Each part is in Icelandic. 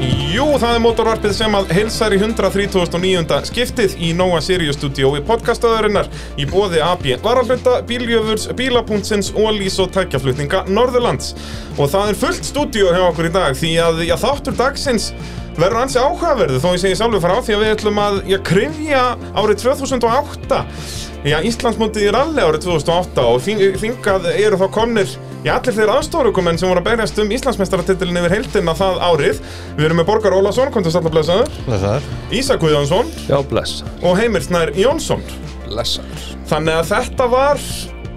það er mótorvarpið sem að heilsar í 139. skiptið í Nóa Sirius Studio í podcastaðurinnar í bóði AB Varalhunda, Bíljöfurs, Bíla.sins, Ólís og tækjaflutninga Norðurlands. Og það er fullt stúdíó hjá okkur í dag því að já, þáttur dagsins verður ansi áhugaverðu þó ég segi sjálfur frá því að við ætlum að já, krifja árið 2008 Já, Íslandsmótið er alveg árið 2008 og þing- þingað eru þá komnir Já, allir þeir aðstórukumenn sem voru að berjast um Íslandsmeistaratitilin yfir heildina það árið Við erum með Borgar Ólafsson, kontestallablessaður Blessaður Ísak Guðjónsson Já, bless og Heimir Snær Jónsson Blessaður Þannig að þetta var,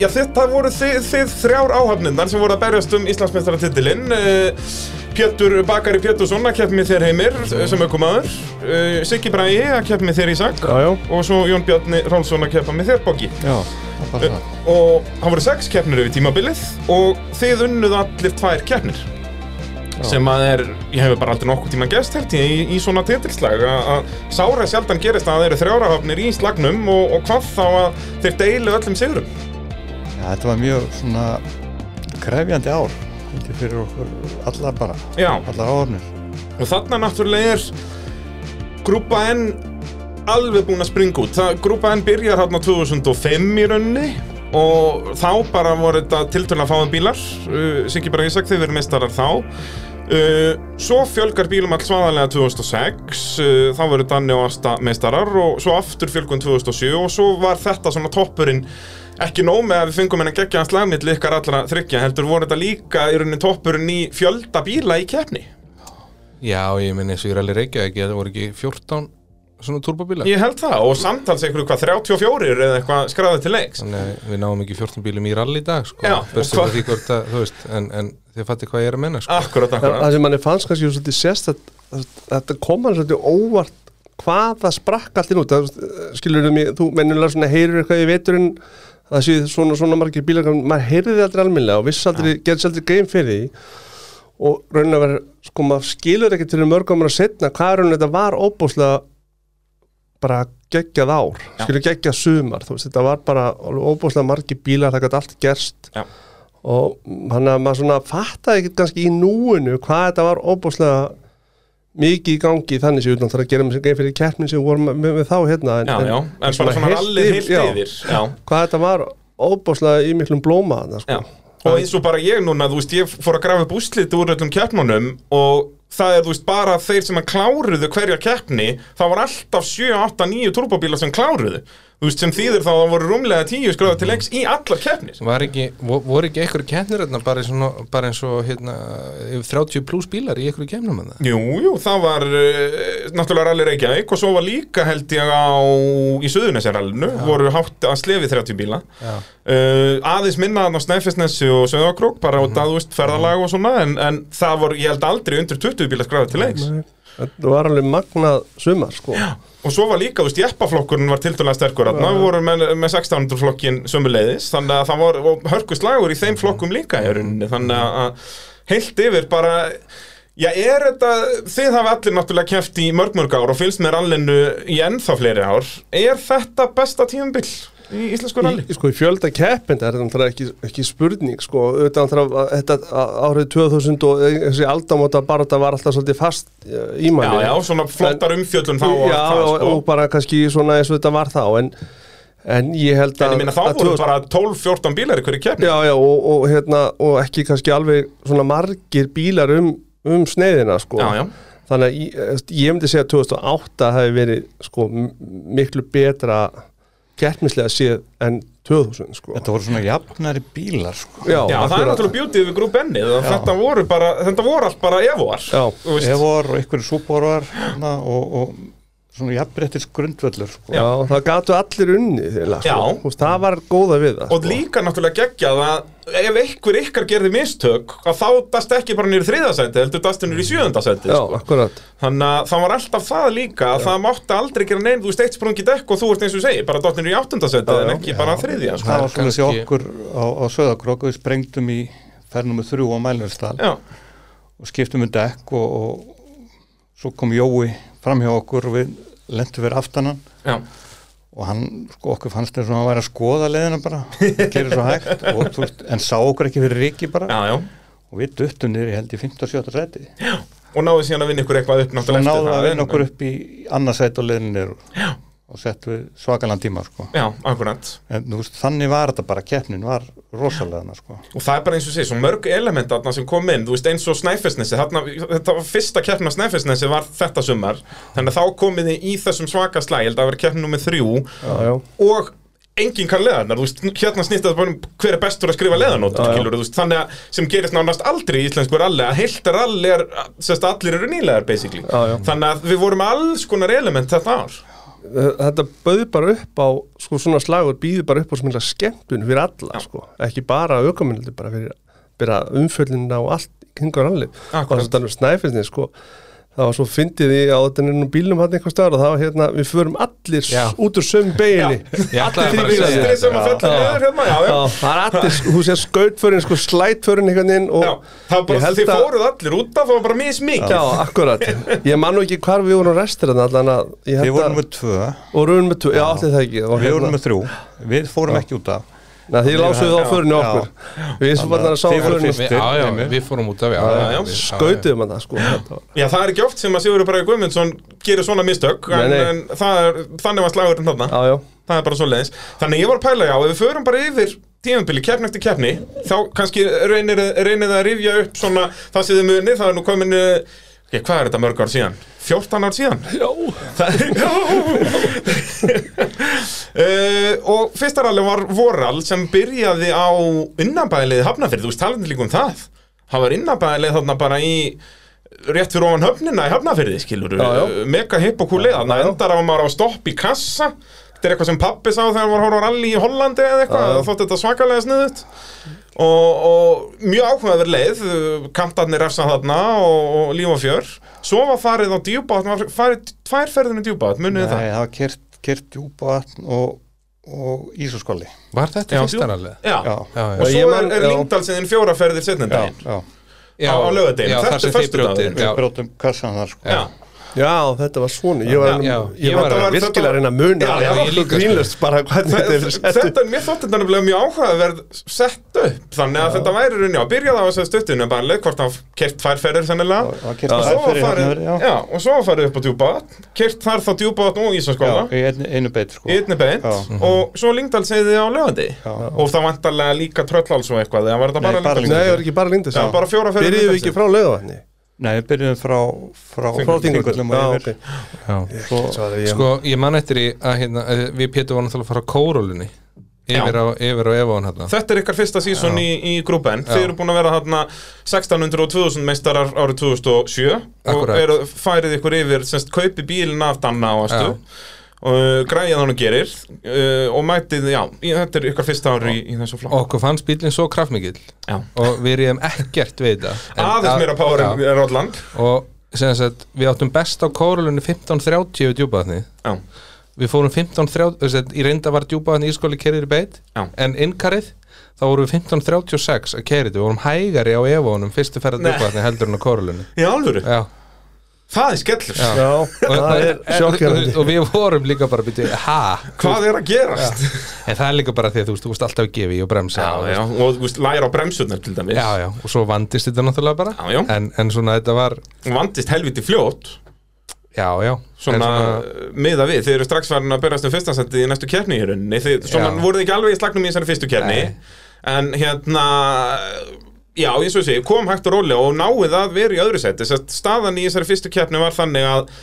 já þetta voru þið, þið þrjár áhafnindar sem voru að berjast um Íslandsmeistaratitilinn Eh, Pétur Bakari Pétursson að kepp með þér Heimir eh, sem aukumadur Eh, Siggi Bræi að kepp með þér Ísak Já, já og svo Jón Bjarni Rálsson að keppa með þér Boggi Já, það er bara það og það voru sex keppnir yfir tímabilið og þið unnuð allir tvær keppnir sem að er, ég hef bara aldrei nokkuð tíma gæst held ég í, í svona titilslag að- að sára sjaldan gerist að það eru þrjárahafnir í slagnum og, og hvað þá að þeir deilu öllum sigurum Já, þetta var mjög svona krefjandi ár Þetta er fyrir okkur alla bara Já, Allar áhörnir og þarna náttúrulega er grúpa N alveg búin að springa út það, grúpa N byrjar hérna 2005 í raunni og þá bara voru þetta tiltölulega fáðan bílar uh, Siggi bara Ísak, þeir verið mestarar þá uh, svo fjölgar bílum alls svaðalega 2006 uh, þá voru Danni og Asta mestarar og svo aftur fjölgun 2007 og svo var þetta svona toppurinn ekki nóg með að við fengum henni geggjaðan slagmill ykkar allra þryggja heldur voru þetta líka í rauninni toppurinn í fjölda bíla í keppni Já, ég minn eins og ég er alveg reykjað ekki, það voru ekki 14 svona turbobílar. Ég held það og samtals einhverju hvað 34 eða eitthvað skráði til leiks Þannig að við náum ekki 14 bílum í rally í dag, sko. Já, og Börstu hvað- það því hvort að, þú veist, en, en þið fattir hvað ég er að menna, sko. Akkurat, Það akkurat það sem manni fannst kannski svolítið sérst að, að þetta kom hann svolítið óvart hvað það sprakk allt inn út það, skilur mig, þú mennulega svona heyrir eitthvað í veturinn það séu svona, svona margir bílar maður heyrði þið aldrei alminlega og vissi aldrei, gerði sér aldrei grein fyrir því og raunin að vera, sko maður skilur ekki til mörgum að setna hvað raunin þetta var óbúslega bara geggjað ár, skilur geggjað sumar þú veist, þetta var bara óbúslega margir bílar, það gæti allt gerst Já. og hann að maður svona fattaði ekkert kannski í núinu hvað þetta var óbúslega mikið í gangi þannig séu utan þar að gera með sér grein fyrir keppnin sem við vorum með, með þá hérna en, Já, já, en bara svona allir heilt já, yfir Já, hvað þetta var óbúslega í miklum blóma þarna, já sko. Og eins og bara ég núna, þú veist, ég fór að grafa upp úrslit úr öllum keppnunum og það er, þú veist, bara þeir sem að kláruðu hverja keppni, það var alltaf 7, 8, 9 turbobílar sem kláruðu Þú veist, sem þýðir þá að það voru rúmlega 10 skráði til leiks í allar keppnir Var ekki, vo- voru ekki einhverju keppnir hérna, bara, í svona, bara eins og, hérna, yfir 30 pluss bílar í einhverju keppnum hérna? en það? Jú, jú, það var uh, náttúrulega rally Reykjavík og svo var líka held ég á í Suðunesjarallinu, voru hátt að slefi 30 bíla uh, aðeins minnaðan á Snæfisnesi og Söðakrók bara út að, þú veist, ferðalag og svona en, en það voru, ég held aldrei undir 20 bíla skráði til leiks Nei, þetta var alveg magnað sumar sko. og svo var líka, þú veist, jeppaflokkurinn var tildulega sterkur þarna, við vorum með, með 1600 flokkin sömuleiðis, þannig að það var og hörkuslagur í Mm. þeim flokkum líka í rauninni, þannig að- að heilt yfir bara Já, er þetta, þið hafa allir náttúrulega kæft í mörg mörg ár og fylgst með rallinu í ennþá fleiri ár. Er þetta besta tímumbill í íslensku ralli? í, sko, í fjölda keppinda er þetta ekki, ekki spurning sko, auðvitað náttúrulega að þetta á- árið 2000 og eh, þessi aldamóta bara þetta var alltaf svolítið fast eh, í Já, manni já, svona flottar umfjöllun þá og já, allt það, og, sko. og bara kannski svona eins og þetta var þá en, en ég held en að ég minna þá að voru 2000 bara 12-14 bílar í hverju keppni. já, já, og, og, hérna, og ekki kannski alveg svona margir bílar um, um sneiðina sko. Já, já. þannig að ég, ég myndi segja að 2008 hafi verið sko, m- miklu betra keppnislega séð en 2000 sko. Þetta voru svona jafnari bílar sko. já, Já, það er akkurat. náttúrulega bjútið við grúp ennið að þetta voru bara, þetta voru allt bara evoar Já, Þú veist, Evor og einhverju súbórar hérna, og, og svona jafnbrettis grundvöllur sko. Já, það gatu allir unni þeirlega, Já. sko. Þú veist, það var góða við það Sko. og líka náttúrulega geggjað að ef einhver ykkar gerði mistök að þá dast ekki bara nýri þriðasæti heldur dast nýri sjöðundasæti Já, sko. akkurat þannig að það var alltaf það líka að það mátti aldrei gera neinn, þú veist eitt sprungi dekk og þú ert eins og segir, bara dott nýri áttundasæti en ekki bara þriðja sko. Það var svona því kannski- okkur á, á Söðakrók og við sprengdum í fernumur þrjú á Mælunarstall Já, og skiptum um dekk og, og svo kom Jói fram hjá okkur og við lentum við aftanan já, og hann, sko, okkur fannst þess að hann væri að skoða leiðina bara, gerir svo hægt og, þú veist, en sá okkur ekki fyrir riki bara já, já og við duttum niður, ég held ég 15-17 seti og náðu síðan að vinna ykkur eitthvað upp Svo náttúrulega náðum við það, að vinna en- okkur upp í annarsætt og leðinir og, Já. og settum við svakalann tíma sko. Já, akkurat en þú veist, þannig var þetta bara keppnin var rosalega sko. Og það er bara eins og sé, svo mörg element þarna sem kom inn, þú veist eins og snæfisnesi, þarna, þetta var fyrsta keppna snæfisnesi var þetta sumar, þannig að þá komið þið í þessum svaka slæ, ég held að það var keppnum með þrjú já, já. og enginn kann leðanar, þú veist, hérna snýst þetta bara um hver er bestur að skrifa leðanótur, Mm. Já, já. skilur, þú veist, þannig að sem gerist nánast aldrei í íslensku ralli, að heilt ralli er, sérst, allir eru nýlegar, basically, Já, já. þannig að við vorum alls konar element þetta ár. þetta bauð bara upp á sko, svona slagur býður bara upp á smilega skemmtun fyrir alla, sko. ekki bara aukamunildi, bara fyrir bara umfjöllina og allt í kringur allir Akkurat. og þetta er snæfisni sko. það var svo fyndið í á þetta nú bílnum hann einhver staðar og það var hérna við förum allir Já. út úr sömu beginni Ég Allir ætlaði bara þrír að segja bílarnir. Sestri sem að Já. fella niður hérna, já, já. Já, það er allir, þú sé skautförin, sko, slætförin einhvern veginn og Já, það var ég bara, held þið að- fóruð allir út af, það var bara mismikið. Já, akkurat, ég man nú ekki hvar við vorum restir en allan að ég held við vorum að með tvö, og raunum með, tvo- já, allir það ekki og við hérna- vorum með þrjú við fórum ekki út af Nei, þið lásuðu það á Já, förinu já. okkur Við sem Þannig að bara að sá þið voru förinu fyrst. Við- Já, já, við fórum út af já, já, já. við- Skautuðum að það sko Þetta var- Já, það er ekki oft sem að Sigurður Bragi Guðmundsson gerir svona mistök, Nei, en, nei. en það er, þannig var slagurinn þarna, Já, já, það er bara svo leiðis. Þannig ég var að pæla, já, ef við förum bara yfir tímanbili, keppni eftir keppni, þá kannski reynir, reynir það að rifja upp svona það sem þið munið, það er nú komin, eh, ok, hvað er þetta mörg ár síðan? 14 ár síðan? já. Það, uh, og fyrsta rally var Voral sem byrjaði á innabæðilegði Hafnafyrð, þú veist talandi líka um það hann var innabæðilegð þarna bara í rétt fyrir ofan höfnina í Hafnafyrði skilur, Já, já. mega hipp og kúlið þannig að endar á að maður á stopp í kassa þetta er eitthvað sem pappi sá þegar hann var að horfa á rally í Hollandi eða eitthvað, þá þótti þetta svakalega sniðut og, og mjög áhugaður leið uh, kantarnir refsa þarna og, og líf og fjör svo var farið á djúbátt maður farið tvær ferðinu djúbátt munið Nei, þið það það var kert, kert djúpaðatn og, og ísúskóli Var þetta Já, fyrsta jú. rallið? já. já, Já, já. og Já, svo ég er, man- er já. Lingdalsiðin fjóra ferðir setnum já, daginn já. Já, á laugardegi. já, Þetta þar sem er þið föstudagurinn. brjótið, við já. brótum kassan þar sko. já. já, þetta var svona Ég var, Já, já, ég ég var, var- þetta var þetta virkilega var- að reyna að muna Já, það já, var ég svo líka, grínlöst bara hvernig þetta er Þe- sett upp. þetta er mér þótt þetta nefnilega mjög áhugaverð sett upp þannig að þetta væri runni á byrjaði á þessu stuttinu bara leið um hvort hann kert tvær ferðir sennilega það var kert og þær svo var fyrir farið, Hafnarfirði, já. já, og svo var farið upp á djúbátt kert þar þá djúbátt og já, ísaskóla í einu, einu beit sko. í einni beint Já. og svo Lingdal segði á lögandi og það vantarlega líka tröllháls og eitthvað eða var þetta Nei, bara bara Lyngdal? Nei, það var ekki bara lindis Já, bara fjóra ferðir Byrjuðu við Lyngdalsins. ekki frá laugavatni nei, við byrjum frá frá, Frá þingvöldum Þingvöllum Já, og ok yfir já. svo, Sorry, ég- Sko, ég man eftir í að hérna, eh, við Pétur vorum náttúrulega að fara á kórólunni yfir Já. á, yfir á Evon hérna Þetta er ykkar fyrsta sísón í, í grúpen Þið eru búin að vera þarna 1600 og 2000 meistarar árið 2007 Akkurat. og eru, færið ykkur yfir semst, kaupi bílinn af Danna á Astu Já. og uh, græja þannig gerir uh, og mætið, já, í- þetta er ykkar fyrsta ári í, í þessu flokk Okkur fannst bílinn svo kraftmikill Já. og við reyðum ekkert við þetta En Aðeins að- meira power Já. en Rótland og sem sagt, við áttum best á kórulunni 15.30 við djúpaðni Já, við fórum 15.30 sem sagt, í reynda var djúpaðni ískóli kerið í beit Já. en innkarið þá vorum við 15.36 að kerið við vorum hægari á evónum fyrstu ferða Nei. djúpaðni heldur en á kórulunni í alvöru, já það er skellur Já. Já, og, það er sjokkjörandi og við vorum líka bara byrju, ha, Hvað er að gerast? en það er líka bara því að þú veist, þú veist alltaf að gefa í og bremsa og, já, og þú veist, læra á bremsunar til dæmis já, já, og svo vandist þetta náttúrulega bara Já, já. En, en svona þetta var, Vandist helviti fljótt já, já en svona miða við, þið eru strax farin að berast um fyrstansætti í næstu keppni í rauninni þið, svona Já. voruð þið ekki alveg í slagnum í þessari fyrstu keppni Nei. en hérna já, eins og ég segi, kom hægt og rólega og náið að vera í öðru seti Sest, staðan í þessari fyrstu keppni var þannig að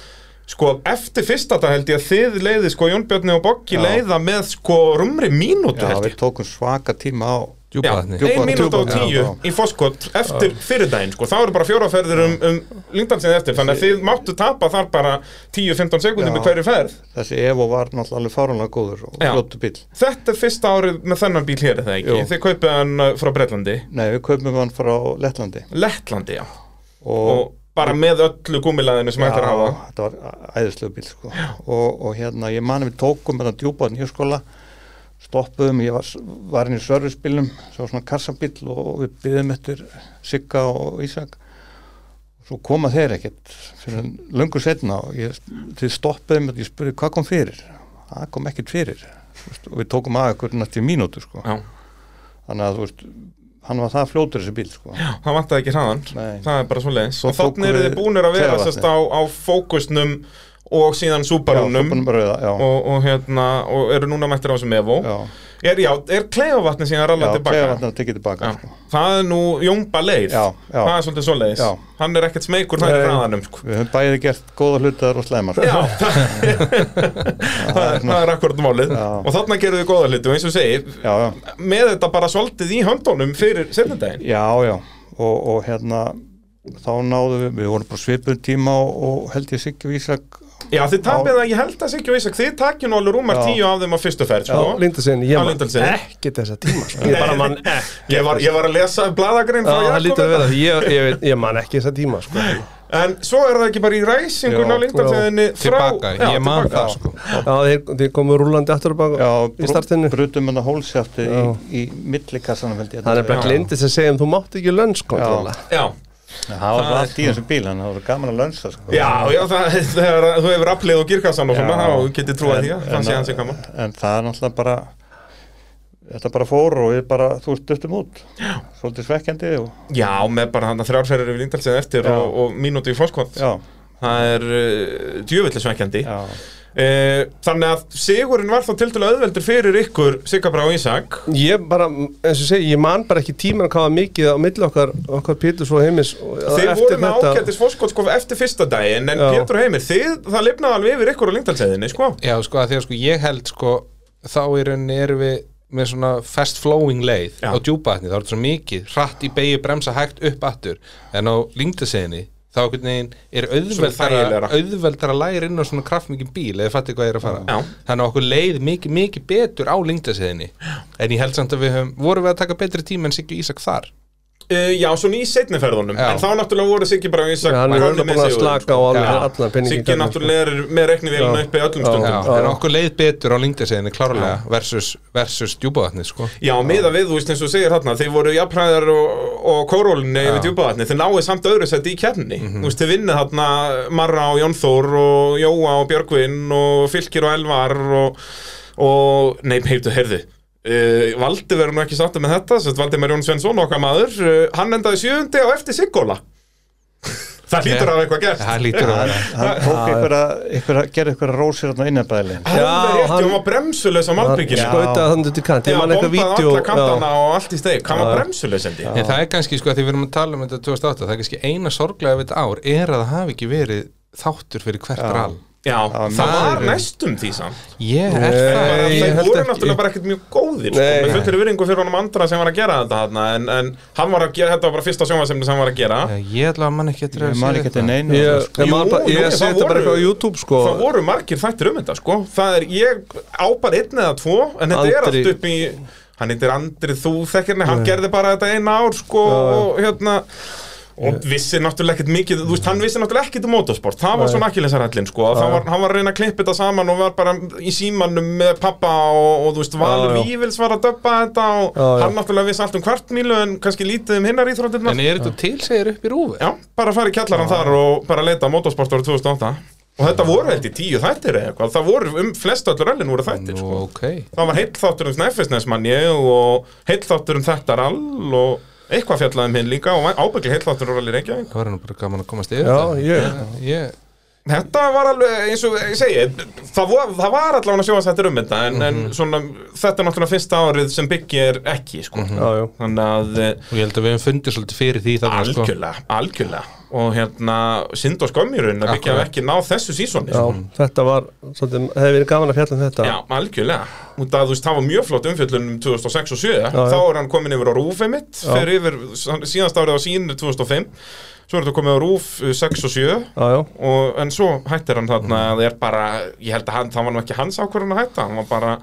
sko, eftir fyrsta dag held ég að þið leiði sko, Jón Björni og Boggi Já. leiða með sko rúmri mínútu já, held við ég tókum svaka tíma á Já, djúpaðni ein mínúta og djúpa- tíu já, í foskot eftir fyrir daginn sko, þá eru bara fjóraferðir um, um Lindalsið eftir, þannig að þið máttu tapa þar bara 10-15 sekundum í Já. hverju ferð þessi Evo var náttúrulega alveg fáránlega góður og Já. flottu bíl Þetta er fyrsta árið með þennan bíl hér, er það ekki? Jú. Þið kaupið hann uh, frá Breitlandi, nei, við kaupum hann frá Lettlandi Lettlandi, já. og, Og bara með öllu gúmilaðinu sem hægt er að hafa. Já, þetta var æðislega bíl sko. og, og hérna, ég mani við tókum þetta djúpaðan í skóla stoppuðum, ég var, var inn í servicebílnum svo svona karsabíl og við byðum eftir Sigga og Ísak svo koma þeir ekkert fyrir löngu setna og ég, þið stoppuðum og ég spurði hvað kom fyrir það kom ekkert fyrir Þú veist, og við tókum að ykkur nætti mínútu sko. Já. þannig að þú veist hann var það fljótur þessi bíl sko. það vantaði ekki hraðan Nei. það er bara svo leiðis Svo og þannig tókum eru við þið búnir að vera Kleifarvatni. sérst á, á fókusnum og síðan súbarunum Já, og, bara rauða, já, og, hérna, og eru núna mættir á þessum Evo já, er, já, er kleifavatni síðan já, rallað tilbaka klefavatn að tekið tilbaka Já. sko. það er nú jómba leið Já, já. það er svolítið svo leiðis Já. hann er ekkert smeykur þar í Nei. hraðanum sko. Við höfum bæði gert góða hlutaðar og slæmar sko. Já, það, það, er- það er akkurat málið Já. og þarna gerðu þið góða hluti og eins og segir já, já, með þetta bara svolítið í höndunum fyrir setnudaginn já, já. Og, og hérna þá náðum við, við vorum bara svipum tíma og, og held ég Siggi Vísak Já, þið tapið það, ég held að Siggi og Ísak þið takið nú alveg rúmar Já. tíu af þeim á fyrstu ferð sko. Lindalsinn, ég Á man Lindahlssyni. ekki þessa tíma sko. Ég bara man ekki ég, var, ég var að lesa bladagrein Já, frá það lítur að Jakob vera því, ég, ég, veit- ég man ekki þessa tíma sko. Já, En svo er það ekki bara í ræsingun Já, á lindartegðinni Tilbaka, ég man það sko þeir, þeir komu rúlandi aftur á baka já, í startinu brutum hennar hólsjáttið í, Já. í millikassanum held ég Það er bara Já. glindi sem segja um þú mátt ekki lönnskontrola Já, Já, það var allt í þessum bíl, hann það var gaman að lönsa sko. já, já það, þegar þú hefur aflið og girkassan og svona, Já. þá getið trúið En- því að það sé en- hans í gaman En það er náttúrulega bara þetta bara fór og við bara þú veist duttum út, já. svolítið svekkjandi og, Já, með bara hann að þrjárferðir yfir lindartegðin eftir Já. og, og mínúti í fórskot já, Það er uh, djöfullis vekkjandi já, uh, Þannig að sigurinn var þá tildulega auðveldur fyrir ykkur Sigabra og Ísak Ég bara, eins og segja, ég man bara ekki tíman hvað var mikið á milli okkar, okkar Pétur svo heimis og- Þeir eftir voru með þetta- ágættis fórskot sko eftir fyrsta daginn En Já. Pétur og Heimir, þið, það lifnaði alveg yfir ykkur á lindartegðinni, sko Já, sko, að því að sko, ég held sko, þá í rauninni erum við með svona fast flowing leið Já. á djúpaðni, það er þetta svo mikið, hratt í beigju bremsa hægt upp aftur, en á lingdaseginni, þá einhvern veginn er auðveldara, þægilegra. auðveldara að læra inn á svona kraftmikið bíl, eða fatti hvað ég er að fara Já. þannig að okkur leið mikið, mikið betur á lingdaseginni, en ég held samt að við höfum, vorum við að taka betri tíma en Siggi og Ísak þar Uh, já, svona í setniferðunum Já. En þá náttúrulega voru Siggi bara eins Já, hann er komnir alveg búin að sigurinn, slaka á sko. alveg Já. allan penningin Siggi náttúrulega er með reknivélina sko. Já. uppi öllum Já. stundum Já, sko. en okkur leið betur á lingdaseginni klárlega versus, versus djúpaðni, sko Já, miða við, þú veist eins og þú segir þarna Þeir voru jafnræðar og, og kórólinni yfir djúpaðatni Þeir náið samt öðru sett í kjarni Mhm. Þú veist, þeir vinnið þarna Marra og Jónþór og Jóa og Björgvin og Fylkir og Elvar og, og nei, heyrðu, heyrðu Uh, Valdi verður nú ekki sattu með þetta sem sagt, Valdimar Jón Svensson okkar maður uh, hann endaði sjöundi á eftir Sigóla það lítur af eitthvað gert það lítur að hann, vera hann tók ykkur að gera ykkur að rósir þarna innabæðilegin Alveg Já, rétt, hann hann- var bremsulegs á malbygginu Hann skautaði hann út í kant, Já, ég man eitthvað bombaði vídeo alla kantana og allt í steg Hann var bremsulegs endi En það er kannski, sko, að því við erum að tala um þetta 2008, það er kannski eina sorglega við þetta ár er að það hafi ekki verið þáttur fyrir hvert rall. Já, það mjög var fyrir. næstum því samt Ég er Nei. það. Bara að Nei, ég Þeir held voru ekki. náttúrulega bara ekkert mjög góðir sko, Nei. Með fullri virðingu fyrir honum andra sem var að gera þetta hana, en, en hann var að gera, þetta var bara fyrsta sjónvarsemni sem hann var að gera Já, Ég ætla að mann ekki eftir að Ég man ekki eftir neinu Ég, sko. ég, man Jú, bara- jú, ég það sé þetta bara voru- eitthvað á YouTube sko Það voru margir þættir um þetta sko Það er, ég ápar einn eða tvo En þetta er Andri. allt upp í Hann heitir Andri, þú þekkir henni, hann gerði bara þetta eina ár sko Og hérna Og vissi náttúrulega ekkert mikið, þú veist, hann vissi náttúrulega ekkert um motorsport Það var svona akkilinsarhællin, sko að það var, Hann var að reyna að klippa þetta saman og var bara í símanum með pappa Og, og þú veist, Valur já. Vífils var að döbba þetta Og Já, já. hann náttúrulega vissi allt um kvartmílu En kannski lítið um hinnar íþróttirnar En er þetta tilsegir upp í rúfi? Já, bara fara í kjallaran þar og bara leita á motorsport árið 2008 og þetta voru held í tíu þættir eða eitthvað það voru um flest öllur öllin voru þættir Nú, sko. ok. það var heill þáttur um Snæfisnes manni og heill þáttur um þetta rall og eitthvað fjallaðum hinn líka og ábyggli heill þáttur um rally Reykjavík Það var nú bara gaman að komast yfir Já, þetta. ég- Ég, Þetta var alveg eins og ég segi það, vo- það var allavega sjóðasættir um þetta en, en svona, þetta er náttúrulega fyrsta árið sem byggja er ekki sko. Já, já. þannig að eh, og ég held að við hefum fundið svolítið fyrir því þarna, sko. algjörlega, algjörlega og hérna, synd og skömmirun að byggja Akkurat. ekki ná þessu sísoni sko. Já, þetta var, svolítið, hefði verið gaman að fjalla um þetta Mm. Já, algjörlega Út að þú veist, það var mjög flott umfjöllun um 2006 og 2007 Þá er hann komin yfir á rúfið mitt Fer yfir, síðast árið á sín 2005 Svo er þetta komið á rúf uh, 6 og 7 Já, Mm. já, og, En svo hættir hann þarna Það er bara, ég held að hann, það var nú ekki hans ákvörðan að hætta Hann var bara,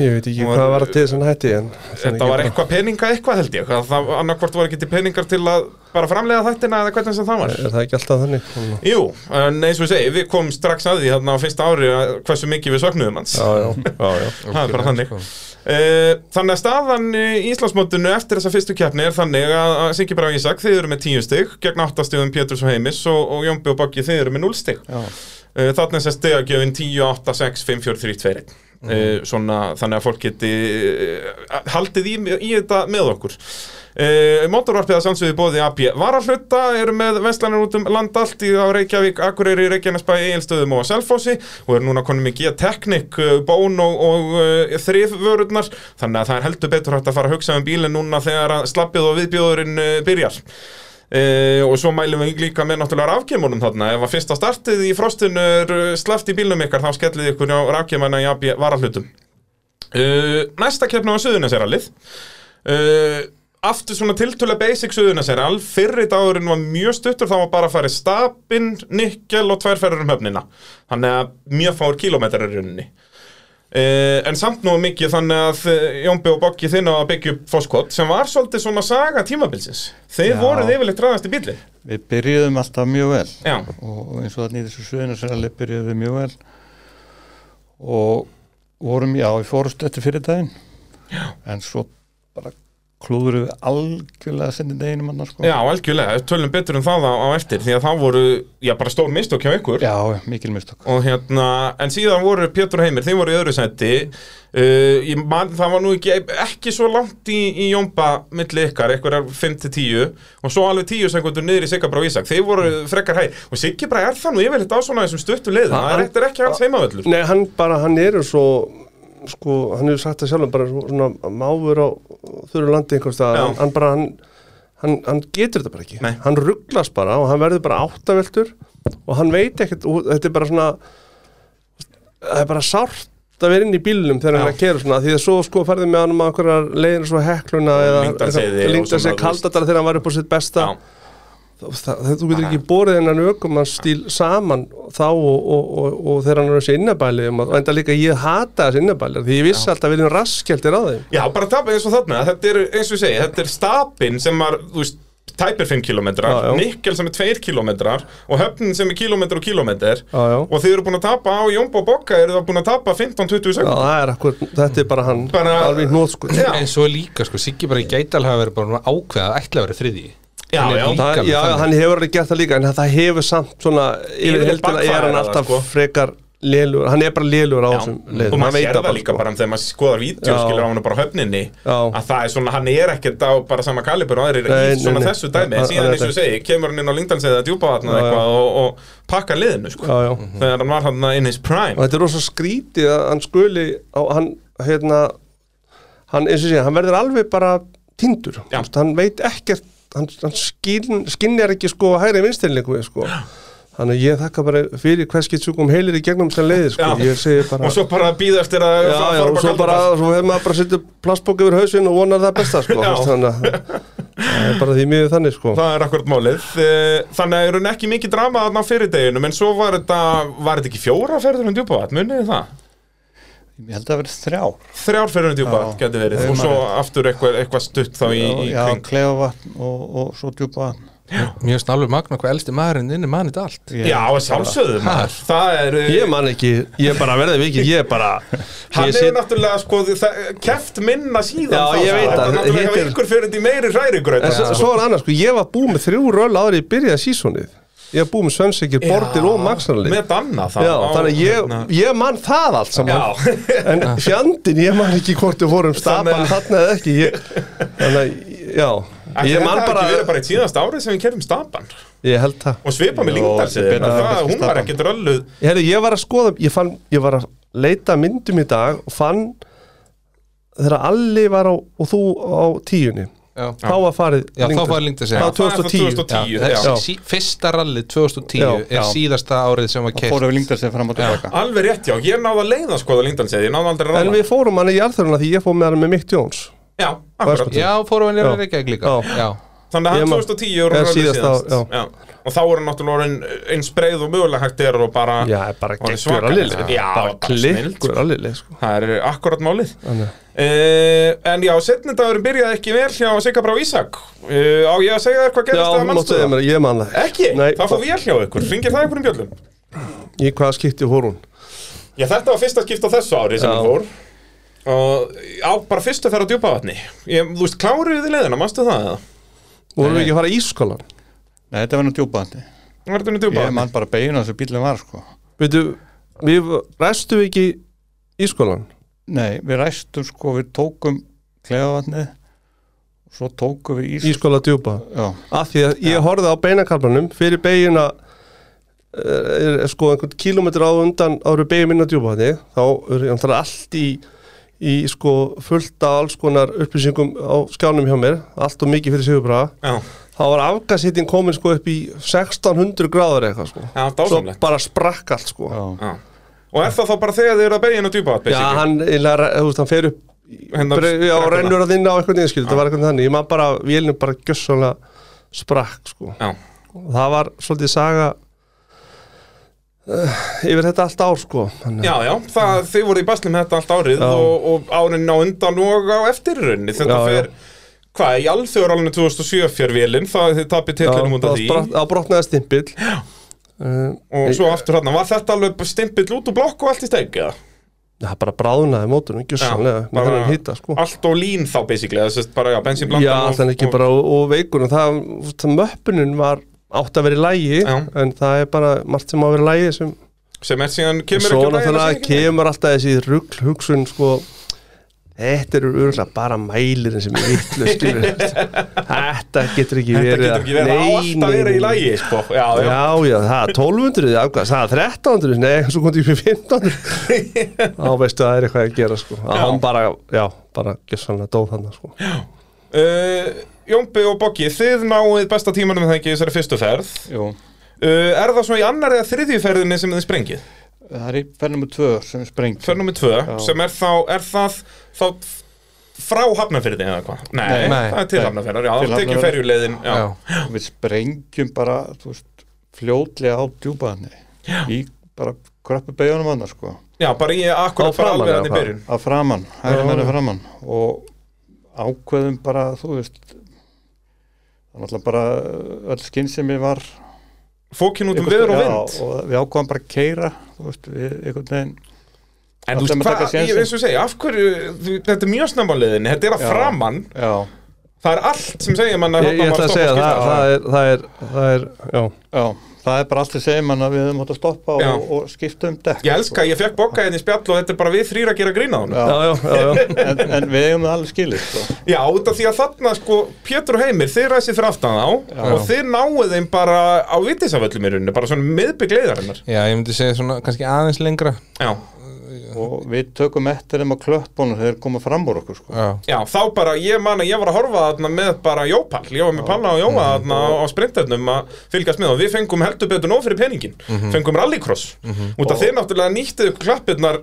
ég veit ekki Hún var- hvað var til þess að hann hætti en þetta var eitthvað peninga eitthvað held ég að Það annarkvort voru ekki til peningar til að Bara framlega þættina eða hvernig sem það var Er það ekki alltaf þannig? Jú, en eins og ég segi, við komum strax að því Þarna á fyrsta ári hversu mikið við söknuðum hans Já, já, já, já Það er bara þannig Sko. Eh, Þannig að staðan í Íslandsmótinu eftir þessa fyrstu keppni er þannig að að Siggi Braga Ísak, þið eru með 10 stig gegn 8 stigum Péturs og Heimis og, og Jónbi og Boggi, þið eru með 0 stig Já. Eh, Þarna er þess að stegagjöfin 10, 8, 6, 5, 4, 3, 2 1. mm. svona, þannig að fólk geti eh, haldið í, í þetta með okkur uh, Mótorvarpiða samsöðu bóði AB Varahluta eru með vestlanir út um land allt í á Reykjavík, Akureyri, Reykjanesbæ, Egilstöðum og á Selfossi og eru núna konum í G-Teknik, eh, Bón og, og uh, þrifvörurnar þannig að það er heldur betur hægt að fara að hugsa um bílinn núna þegar að slappið og viðbjóðurinn uh, byrjar Uh, og svo mælum við líka með náttúrulega rafkeimunum þarna, ef að fyrsta startið í frostinu er sleft í bílnum ykkar þá skellið ykkur á rafkeimana í AB varahlutum uh, næsta keppna var Suðunaserallið uh, aftur svona tiltölu basic Suðunaserall fyrri dagurinn var mjög stuttur þá var bara að fara stapinn, nikkel og tværferður um höfnina þannig að mjög fáur kílómetrar er runni Uh, en samt nú mikið þannig að eh, Jónbi og Boggi þinn á að byggja upp Foskot sem var svolítið svona saga tímabilsins þeir Já. voruð yfirleitt ræðast í bíli Við byrjuðum alltaf mjög vel Já. og eins og þannig í þessu suðunarsæli byrjuðum við mjög vel og vorum, já, við fórust eftir fyrir daginn já. en svo bara klúðurum við algjörlega að senda deginum annars sko. Já, algjörlega, tölum betur um það á, á eftir því að það voru, já, bara stór mistök hjá ykkur já, já, mikil mistök og hérna, en síðan voru Pétur og Heimir þeir voru í öðru seti uh, ég man, það var nú ekki, ekki svo langt í, í Jómba milli ykkar eitthvað 5-10 og svo alveg 10 sekundur niður í Siggabrá Ísak, þeir voru frekar hæg og Siggibrá er það nú yfirleitt á svona þessum stuttu leiðum, Ha, það er hann- þetta er ekki hans heimavöllur Nei, hann bara, hann er svo sko, hann hefur sagt það sjálfum bara svo- svona máfur á þurru landi einhvers Já. staðar, hann, hann bara, hann Hann, hann getur þetta bara ekki, Nei. hann rugglast bara og hann verður bara áttaveltur og hann veit ekkert, og þetta er bara svona það er bara sárt að vera inn í bílnum þegar hann er að kera svona því að svo sko færði með hann um einhverjar leiðin svo hekluna Lyngdalsheiði og lengta svona, þú sig veist. kaldadara þegar hann var upp á sitt besta Já. það, það, þú getur ekki borið hennan ökumann stíl saman þá og, og, og, og þegar hann er þessi innabæli og enda líka ég hata þessi innabæli því ég vissi alltaf að við erum raskjaldir á þeim Já, bara tapa eins og þarna, þetta er eins og ég segi, þetta er stapinn sem var, þú veist, tæpir 5 km, Já, já. nikkel sem er 2 km og höfnin sem er kilometr og kilometr Já, já. og þið eru búin að tapa á Jómbo og Bokka eru það búin að tapa 15-20 Já, sekund það er akkur, þetta er bara hann Bara- alveg hnótsku Já. það, En svo er líka, sko, Siggi bara í gætal hafa verið bara ákveða að ætla að vera þriði Já, Hann er já. líka með já, þannig. hann hefur alveg gert það líka en það hefur samt svona yfir Yfirleitt heldina backfire er hann það, alltaf sko. frekar lélugur, hann er bara lélugur á þessum leiðum, og hann maður veit sko. sér það líka bara þegar maður skoðar vídeo Já. skilur á hann bara á höfninni Já. að það er svona, hann er ekkert á bara sama kalibur og aðrir Nei, í svona nei, nei. þessu dæmi Hann- en síðan hann- eins og ég segi, kemur hann inn á Lingdalsið að djúpa þarna Já, Mhm. já. eitthvað og, og pakka liðinu sko, Já, já. þegar hann var hann in his prime og þetta er rosa skrítið að hann skuli á, hann, hérna hann, eins og sé, hann verður alveg bara tindur, Já. hann veit ekkert hann, hann skinn, skinnjar ekki sko hægri vinstinleiku sko. þannig að ég þakka bara fyrir hverskið sjúkum heilir í gegnum sem leiði sko. Já. ég segi bara og svo bara býða eftir að Já, fara bara já, og svo Galdhöll. bara, svo hefur maður bara setið plastbók yfir hausinn og vonar það besta, sko, Já. veist, þannig að það er bara því miður þannig, sko. Það er akkurat málið Eh, Þannig að eru ekki mikið drama þarna á fyrirdeginum En svo var þetta, var þetta ekki fjóra ferður um djúpaðat, munið þið það? Ég held að það verið þrjár Þrjár ferður um djúpaðat Já, geti verið ef Og svo maður aftur eitthvað, eitthvað stutt þá í, í Já, kring klefavatn og, og svo djúpa Mjög snálfur magna hvað elsti maðurinn inni manið allt Já, að sjálfsögðu maður Það er, eh, Ég man ekki, ég bara verði vikið, ég bara, hann ég er náttúrulega sko það, Keft minna síðan Já, þá, sko. ég veit Þetta það. er náttúrulega Hitt hefur er- ykkur fyrir því meiri hrærigur En svo, svo er annars, sko, ég var búið með þrjú röll árið í byrjaði sísonið Ég var búið með Svensengir, Bortil og Maxarli Með danna þá Já, á- þannig að ég, ég man það allt saman Já, En fjandin, ég man ekki hvort við fórum Þannig stapan að- þarna eða ekki ég, Þannig að, já Ætli Ég þetta man hafi ekki verið bara, bara í tíðast árið sem við kerfum stapan ég held það og svipa með Jó, Lingdalsið þetta er betra en það- kannski hún var Stapan. ekki drölluð Herri, ég var að skoða, ég fann, ég var að leita að myndum í dag og fann þegar Alli var á, og þú á tíunni Já, þá var farið já þá Lyngdal. var lengt að segja Það var 2010. Já, 2010 það er já. sí- sí- Fyrsta rallið 2010 Já, er já. síðasta árið sem var og kert fórum við lengdar sér fram og tilbaka Alveg rétt, já, ég náði að leiða skoða Lindansið, ég náði aldrei að En ráða við fórum hann í jarðurna því ég fór með hann með Mick Jones Já, akkurat, Varstu- Já, fórum Já. við nýra Reykjavík líka Já. Já, þannig að Ég hann man- 2010 er Já, röðið síðast síðast á- já. Og þá er hann náttúrulega orðinn eins breið og mögulega hægt er og bara Já, bara orðinn geggjur svakalega. Alli Já, bara bara snilld, klikkur Alli sko. Það er akkurat málið Þannig. uh, En já, setni dagurinn byrjaði ekki vel hjá Sigga Brá Ísak uh, Á ég að segja þér hvað Já, gerist það máttu mannstu þið það? mér, ég man það Ekki, Nei, það fór vel hjá ykkur, ringir það ykkur um bjöllum Í hvaða skipti fór hún? Já, þetta var fyrsta skipta á þessu ári sem Já. ég fór Og á bara fyrstu ferð á djúpavatni ég, Þú veist, kláruðu þið leiðina, mannstu það eða? Vorum við ekki að fara í ískólan? Nei, þetta var nú djúpaðandi Verður nú Ég djúpavatni? man bara beginu þessu bílum var sko Veitu, við ræstum við ekki í skólan? Nei, við ræstum sko, við tókum klefavatnið svo tókum við ís Í skóla djúpa? Já, Af því að ég horfði á beinakarmanum fyrir beigina er, er sko einhvern kílómetri á undan áru beigin minna djúpa þannig þá er ég náttúrulega allt í í sko fullt af alls konar upplýsingum á skjánum hjá mér allt og mikið fyrir sigurbræða Já, þá var afgasittin komin sko upp í 1600 gráður eitthvað sko já svo dásamlegt bara sprakk allt sko já, Já. Og er það þá bara þegar þið eru að beigja inn á djúpa vatn, Já, basically? hann, eiginlega, þú veist, hann fer upp Hérna brei- Já, brekkuna. rennur að þinna á eitthvað niðurskil þetta var eitthvað þannig, ég maður bara, vélnum bara gjössanlega sprakk, sko Já, og það var svolítið saga uh, yfir þetta allt ár sko Þannig, já, já það, þið voru í basli með þetta allt árið Já. og, og árin á undan og á eftirrunni Þetta Já, já. fer, hvað, í alþjóðuralinu 2007 fjör vélinn, það þið tapir tillinum út af því brot, á brotnaði stimpill uh, Og svo aftur hérna, var þetta alveg stimpill út úr blokk og allt í steg, eða? það bara bráðnaði mótunum, gjössanlega með þennan hýta sko Allt og lín þá, basically, þess að bara, já, bensínblandan já, þannig ekki bara og, og veikunum það, það möppunin var átt að vera í lægi Já. en það er bara margt sem á að vera í lægi sem Sem er síðan, kemur svo ekki á lagið, náttúrulega sem ekki- kemur alltaf þessi rugl hugsun sko Þetta eru örgulega bara mælirinn sem er vittlu, skilur Þetta getur ekki Þetta verið getur ekki verið, það á Nei, alltaf að nei, vera í nei. lagi, sko Já, já, Já, já, það er 1200 afgæð, það er 1300, nei, svo kom ég fyrir 1500 Þá veistu að það er eitthvað að gera, sko að Já. Hann bara, já, bara gjössanlega dóð hann, sko Uh, Jómbi og Boggi, þið náið besta tímanum það ekki í þessari fyrstu ferð jú uh, Er það svona í annar eða þriðju ferðinni sem þið sprengið? Það er í fernum og tvö sem við sprengt Ferð nummer tvö, Já. sem er þá, er það þá frá hafnafyrði eða hvað? Nei, Nei. það er til Nei. hafnafyrðar, já, Til það er tekið Hafnarfjarðar. ferjuleiðin Já, Já. Við sprengjum bara, þú veist, fljótlega á djúbaðni í bara kröppu beigjónum annars sko já bara ég Á akkurat bara framan alveg hann eða í hvað? byrjun að framann, hægri Já. meira framann og ákveðum bara, þú veist það er náttúrulega bara uh, öll skinn sem ég var Fókin út um einhvern- veður og já, vind og við ákveðum bara að keira þú veist, við einhvern veginn En þú ætlum veist að taka hvað, sénsinn. ég- eins og segja, af hverju þú- Þetta er mjög snemma á leiðinni, þetta er að Já. framann já, Það er allt sem segja mann að Ég, ég þarna maður ætla að stoppar segja, og það, skiptir. það, er, það, er, það er, já já, það er bara allt í segjum hann að við höfum átt að stoppa Já. og, og skipta um dekk Ég elska, ég fekk bokka hérna í spjall og þetta er bara við þrýra að gera grína á hann Já, já, já, já en, en við höfum það alveg skilið sko. Já, út af því að þarna, sko, Pétur og Heimir, þið ræsið fyrir aftan þá Já. og þið náuð þeim bara á vitisaföllum í rauninni, bara svona miðbyggleiðarinnar. Já, ég myndi segja svona kannski aðeins lengra Já, og við tökum eftir þeim á klöppunum þegar þeir koma fram úr okkur sko. Já, já, þá bara, ég man að ég var að horfa þarna með bara jópall, ég var með panna og jóa þarna á sprintarnum að fylgjast með og við fengum heldur betur nóg fyrir peningin, fengum rallycross, út af þið náttúrulega nýttuðu klappirnar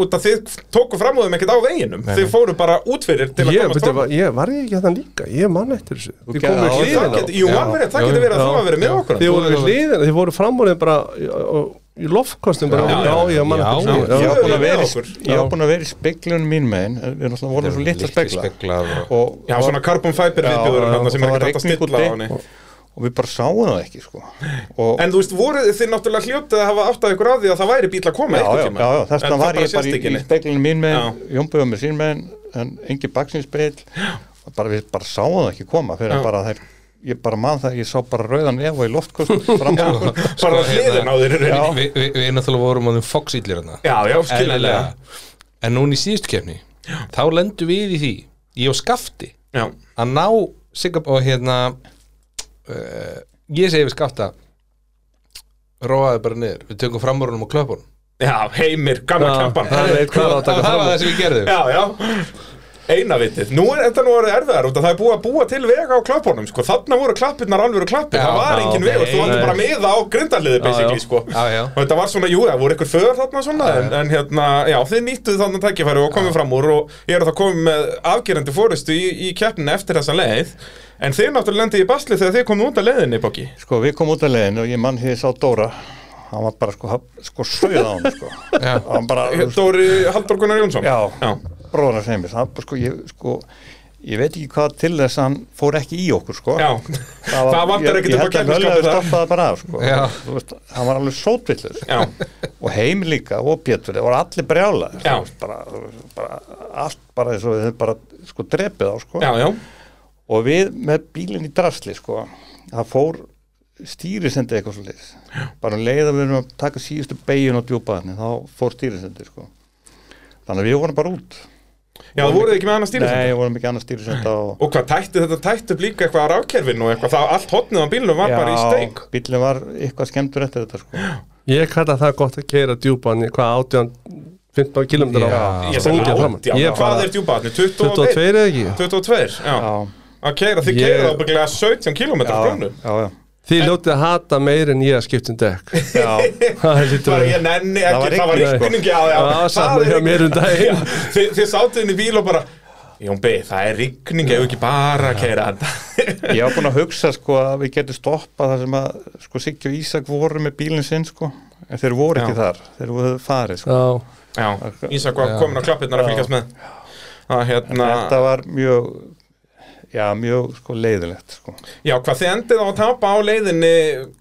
út af þið tóku fram úr þeim ekkert á veginum, þið fóru bara út fyrir til að Ég, komast veitir, fram. var, ég var ég ekki að það líka, ég man eftir þessu Þið gerðir komu í það. Ég, það hliðina get- Jú, Já. alveg, rétt, það Já, getur verið að já. þú hafa verið með Já. okkur. Þið þarna. voru í hliðina, þið voru framúrið bara í, á- í loftkostum bara, Já, já, já, ég man já, eftir já. þessu Já, ég var búin að Við vera, okkur. í- ég var búin að vera í speglunum mín megin en við náttúrulega vorum svo litla spegla speglað og... og, Já, og- svona carbon fiber Já, viðbjóður já, hérna sem það er var ekki hægt að rigning stilla á úti. henni og við bara sáum það ekki sko. og, En þú veist, voruð þið náttúrulega hljótið að hafa áttað ykkur að því að það væri bíl að koma já, já, einhvern tíma já, já, þess En vegna það var ég bara sést í, ekki í neitt. speglunum mín megin Já. Jómbi var með sín megin en engi baksinspeil og bara við bara sáum það ekki koma fyrir Já. að bara þeir ég bara man það, ég sá bara rauðan efa í loftkostum fram á okkur Bara Sko, hliðin á þeir eru Við vi, vi, vi náttúrulega vorum á þeim foxillir hana Já, já, skiljanlega En núna í síðustu kefni þá lendum við í því ég og skafti Já, að ná Sigab og hérna uh, ég segi við skafta róaði bara niður, við tökum framúrunum og klöpunum já, heimir, gamla kempan Það er eitthvað að það taka var fram það sem við gerðum Já, já Eina vitið, nú er þetta nú orðið erfiðar út að það er búið að búa til vega á klappunum sko. þarna voru klappirnar alveg klappir, Já, það var já, engin nei, vegur, þú vartu nei. bara með á grindaliði basically, já. sko Já, já. og þetta var svona, jú, það voru ykkur föður þarna svona en, en hérna, já, þið nýttuðu þarna tækifæri og komið fram úr og ég er það komið með afgerandi fórustu í, í keppninu eftir þessa leið en þið náttúrulega lendið í basli þegar þið komið út af leiðinni, Bokki sko við komum út af leiðinu og ég mann því ég sá Dóra hann var bara sko, haf- sko sögð á hann sko. Já. hann bara, þú veist, Dóri Halldór Gunnar Jónsson já, já, bróðan sem ég hann, bara, sko, ég, sko, ég veit ekki hvað til þess að hann fór ekki í okkur sko. já. það, vantar ekkert ég, ég upp á held að Höllu hefur keppniskapið stoppað það bara af sko. Já. Þú veist, hann var alveg sótvillur Já, og heim líka og Pétur, það voru allir brjálaðir Já. Þú veist, bara, þú veist, bara, allt bara eins og við höfum bara sko drepið á sko. já, já, og við með bílinn í drasli sko, það fór stýrisendi eitthvað svo leiðis bara um leið að við erum að taka síðustu begin á djúpaðinni, þá fór stýrisendi sko þannig að við vorum bara út Já, það voruð ekki með annað stýrisenda Nei, vorum ekki annað stýrisenda og Og hvað tætti þetta tætti upp líka eitthvað á rákjærfinu og eitthvað, það allt hotnið á bílnum var bara í steik bíllinn var eitthvað skemmtur eftir þetta sko. Ég kalla það gott að keira djúpan í hvað 18, 15 km Já. á Ég sagði Stungið framan. átján, Ég hvað bara er djúbaðni? 22 22? eða ekki 22, já Já, Að keira, þið Ég- keira ábygglega 17 km já, grónu já, já. Þið ljótið að hata meir en ég að skipta um dekk já. Það lítur Bara að ég nenni var ekki, það var rigning. rigning Já, já, Já, sama er hjá rigning. mér um daginn. Já, Þið þið sátu inn í bíl og bara Jón B, það er rigning, ef ekki bara að keira þetta Ég var búin að hugsa sko að við getum stoppað þar sem að sko Siggi og Ísak voru með bílinn sinn sko en þeir voru ekki Já. þar, þeir voru farið sko. Já, Já, Ísak var komin á klappirnar að fylgjast með Það hérna, Þetta var mjög já, mjög sko leiðilegt sko. já hvað þið endið á að tapa á leiðinni,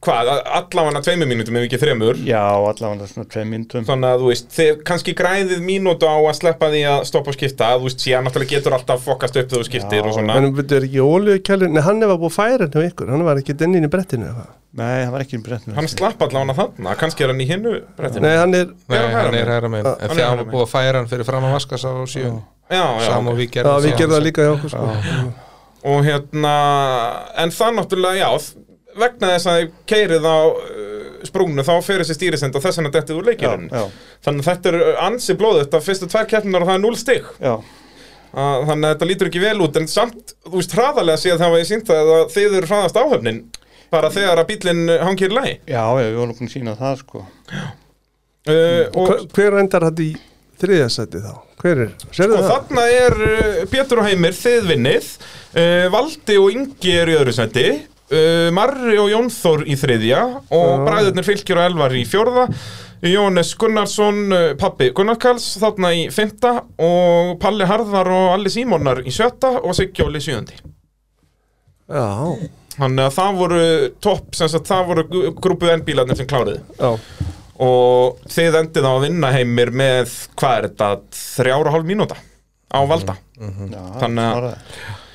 hvað, allafana tveimur mínútum ef ekki þremur Já, allavega svona tveim myndum Þannig að þú veist, þið kannski græðið mínútu á að sleppa því að stoppa og skipta Þú veist, síðan náttúrulega getur alltaf fokast upp þegar þú skiptir og svona en þetta er ekki ólíukjælur Nei, hann var búið að færa hann hjá ykkur Hann var ekki dennin í brettinu eða hvað? Nei, það var ekki um brett Hann slapp allan að þarna, kannski er hann í hinnu brettinu Nei, hann er Er hann Nei, hægra hann megin? er hæra megin hann er En því að hægra hann var búið að færa hann fyrir fram að vaska sá sjö Já, já, Sam og ok. Já, við gerðum við síðan gerðum það sem- líka hjá okkur sko. og hérna, en það náttúrulega, já, þ- vegna þess að keirið á uh, sprungnu þá fyrir sér stýrisend og þess vegna dettið úr Já, leikirinn já, Þannig að þetta er ansi blóðið, þetta fyrstu tvær keppnir og það er 0 stig já, Að- Þannig að þetta lítur ekki vel út, en samt, þú veist, hraðarlega séð það var ég sínt að þið eru hraðast áhöfnin bara þegar að bíllinn eh, hangir í lagi já, já, við vorum búin að sína það sko Uh, og Hver- Hver endar þetta í þriðja sæti þá? Hver er? Sérðu og það? þarna er uh, Pétur og Heimir þið vinnið uh, Valdi og Ingi eru í öðru seti uh, Marri og Jónþór í þriðja og Já. bræðurnir Fylkir og Elvar í fjórða Jónes Gunnarsson, uh, pappi Gunnar Karls þarna í fymta og Palli Harðar og Alli Símonar í sjötta og Siggjóli í sjöndi Já, Þannig að það voru topp, sem sagt það voru gr- grúpuð N-bílarnir sem kláruðu já og þið endið á að vinna Heimir með, hvað er þetta, þrjára og hálf mínúta á Mhm, Valda já, Þannig að- bara-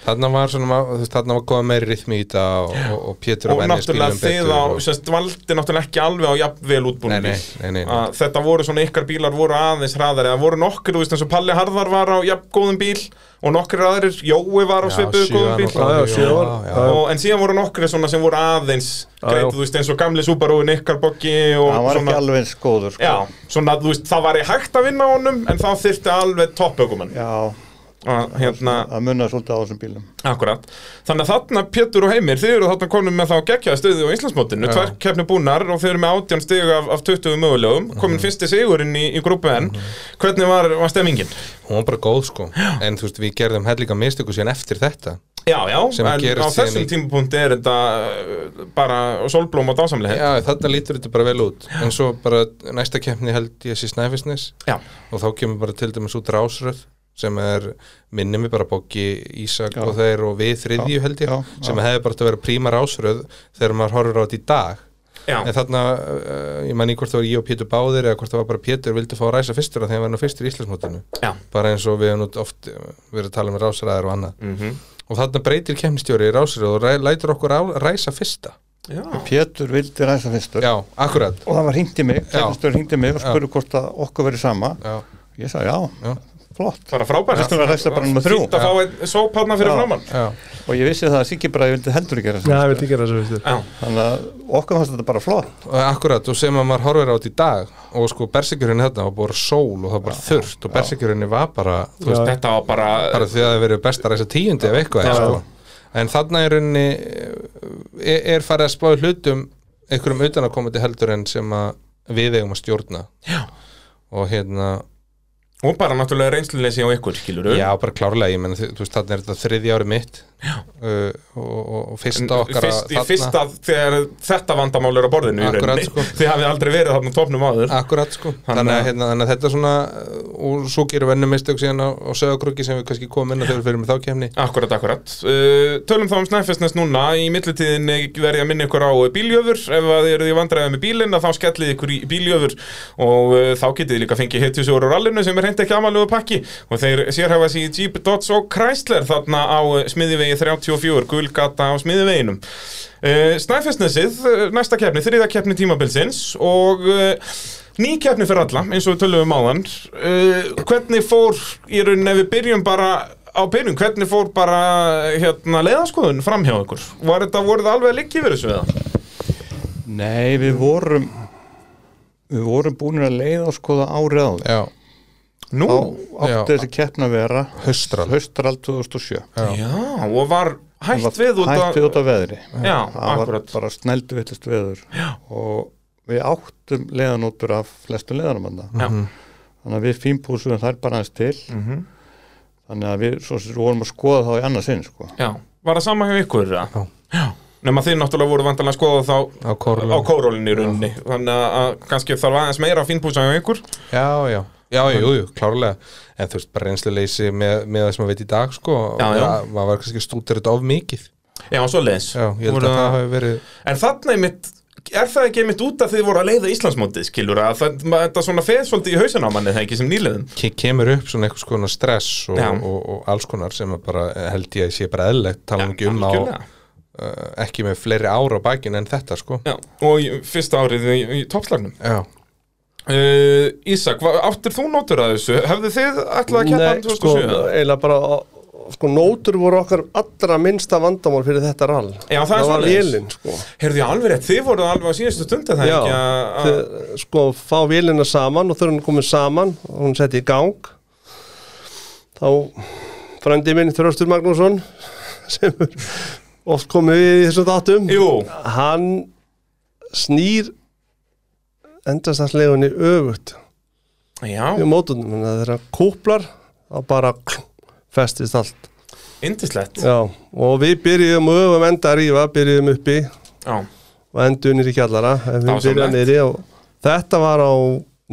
Þarna var svona, ma- þú veist, þarna var komið meiri rithmi í þetta og, og, og Pétur og Benni náttúrulega skilum þið betur á, og- sérst, valdi náttúrulega ekki alveg á jafnvel Nei, útbúinu nei, nei, nei, nei. að þetta voru svona ykkar bílar voru aðeins hraðari það voru nokkur, þú veist, eins og Palli Harðar var á jafn góðum bíl og nokkur aðrir Jói var á Já, svipuðu sjö góðum var bíl Já, nokkuð. já, sjö var Já, já. já. og, en síðan voru nokkur svona sem voru aðeins Já, greit, já. þú veist, eins og gamli Subaruin ykkar boggi og hann var ekki svona alveg eins góður sko Já, svona, þú veist, það var í hægt að vinna á honum en þá þyrfti alveg toppökumann já að hérna, að munna svolítið á þessum bílum Akkurat. Þannig að þarna Pétur og Heimir, þið eru þarna konum með þá geggjaða stöðu á Íslandsmótinu, tvær keppni búnar og þið eru með 18 stig af, af 20 mögulegum, komin fyrsti sigurinn í, í grúpu N. Hvernig var, var stemmingin? Hún var bara góð sko En þú veist, við gerðum hellinga mistöku síðan eftir þetta Já, já, Sem en gerist á síðan þessum í- tímapunkti er þetta uh, bara solblóm og dásamlega. Já, þarna lítur þetta bara vel út En svo bara næsta keppni held ég sé Snæfisnes Já. Og þá kemur bara til dæmis út rásröð sem er, minni mig bara Boggi, Ísak og þeir og við þriðju held ég já, sem hefði bara átt að vera príma rásröð þegar maður horfir á þetta í dag Já, En þarna, uh, ég man í hvort það var ég og Pétur báðir eða hvort það var bara Pétur vildi fá að ræsa fyrstur af því að hann var nú fyrstur í Íslandsmótinu já. bara eins og við hefum nú oft uh, verið að tala um rásaræðar og annað Mm og þarna breytir kemnistjóri í rásaræð og ræ, lætur okkur á, ræsa fyrsta já. Pétur vildi ræsa fyrstur Já, akkurat og það var hringt í mig, Já. Sækistur hringt í mig og spurði hvort að okkur verið sama Já, ég sagði já, Já. flott Bara frábært. fyrstur var ræsta bara nummer þrjú Fínt að fá einn sópanna fyrir Já. framann. já, og ég vissi það að Siggi bara vildi heldur ekki Já, ræsa ég vil ekki gera þessu fyrstur Já, þannig að okkur fannst þetta bara flott og Eh, akkurat og sem að maður horfir á þetta í dag og sko bersikjörunni þarna var bara sól og það var bara þurft og bersikjörunni var bara þú veist, þetta var bara, bara því að það verið best að ræsa tíundi ef eitthvað er, sko. en þarna er rauninni eh, er, er farið að spáði hlutum einhverjum utanakomandi heldur en sem að við eigum að stjórna já. og hérna og bara náttúrulega reynsluleysi á ykkur, skilur við. Já, bara klárlega, ég menn, þú veist, þarna er þetta þriðja ári mitt uh, og, og, og fyrsta okkar fyrst, í fyrsta þegar þetta vandamál er á borðinu Akkurat, Akkurat, sko. sko. þið hafið aldrei verið þarna á topnum áður Akkurat, sko, Hann, þannig að, uh, hérna, þannig að þetta svona uh, og svo gerum við ennum mistök síðan á, á sögakrukki sem við kannski komum inn og þegar við fyrir með þá kemni Akkurat, akkurat. Uh, tölum þá um snæfestnes núna. Í millitíðin verði að minna ykkur á uh, bíljöfur. Ef að þið eruð í vandræði með bílinn, að þá skellið ykkur í bíljöfur og uh, þá getið þið líka fengið hitjusjóru á rallinu sem er hreint ekki amalugu pakki og þeir sérhafa sig í Jeep, Dodge og Chrysler þarna á uh, smiðivegi vegi 34, gulgata á smiði veginum. Snæfestnesið, eh, næsta keppni, þriða keppni tímabilsins og eh, ný keppni fyrir alla, eins og við töluðum um áðan. Eh, Hvernig fór, í rauninni, ef við byrjum bara á byrjun, hvernig fór bara hérna, leiðaskoðun fram hjá ykkur? Var þetta, voruð það alveg að liggja yfir þessu eða? Nei, við vorum við vorum búin að leiða og skoða árið áður já, Nú? þá Já. átti þessi keppna að vera Haustral. haustral 2007 Já, og var Það hætt við út að... hætt við út af veðri Já, það var akkurat. bara snældu villist veður Já. og við áttum leiðanótur af flestu leiðanumanna Já. Mhm. þannig að við fínpúsum þær bara aðeins til þannig að við svo, sem vorum að skoða þá í annarsinn sko. Já, var það sama hjá ykkur? eða? Já. Nema þið náttúrulega voru vantanlega að skoða þá á korlum á kórólinni í rauninni. Þannig að- að kannski þarf aðeins meira að fínpúsa hjá ykkur. Já, já, já, jú, jú, klárlega En þú veist, bara reynsluleysi með, með það sem að veit í dag, sko Já, já. Var- Maður var kannski stútir þetta of mikið Já, svo leðis. Já, ég held að það hafi verið En þarna er mitt, er það ekki mitt út að þið voru að leiða Íslandsmótið, skilur að það, ma- þetta svona feð svolítið í hausin á manni, það er ekki sem nýliðum. ke- Kemur upp svona eitthvað skona stress og, Já. og, og alls konar sem að bara eh, held ég að sé bara eðlilegt tala nú ekki um á Algjörlega. uh, ekki með fleiri ára á bakinu en þetta, sko Já, og í fyrsta árið í, í toppslagnum. Já, Uh, Ísak, hva, áttir þú nótur að þessu? Hefðu þið ætlað að keppa um hann Nei, sko, 2007? eiginlega bara sko, nótur voru okkar allra minnsta vandamál fyrir þetta rall Já, það er var svoleiðis. vélinn, sko Heyrðu ég alveg rétt, þið voruð alveg á síðustu stundu það er Já, ekki að... að- þið, sko, fá vélina saman og þau eru komin saman og hún setti í gang þá frændi minn Þröstur Magnússon sem er oft komið við í þessum datum Jú, hann snýr endastalllegunni öfugt já, í mótunum, þannig að þegar hann kúplar þá bara festist allt indislegt. Já, og við byrjuðum og öfum enda að rífa, byrjuðum uppi Já, og endur niður í kjallara en við Dásamlegt. byrjuðum niðri og þetta var á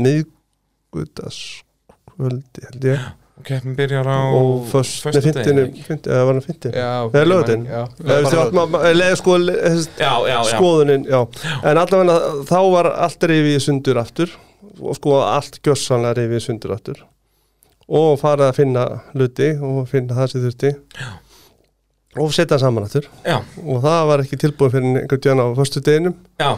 miðgutaskvöldi held ég og keppin byrjar á og föst, nei, föstudegi, fyndinu, ekki? fyndinu, eða var hann fyndinu já eða lögutin, Já, eða sko le- þessi Já, já, já skoðunin, já en allavega þá var allt rifið í sundur aftur og sko allt gjössanlega rifið í sundur aftur og farið að finna hluti og finna það sem þurfti já. og setja hann saman aftur Já, og það var ekki tilbúið fyrir einhvern djana á förstu deginum já,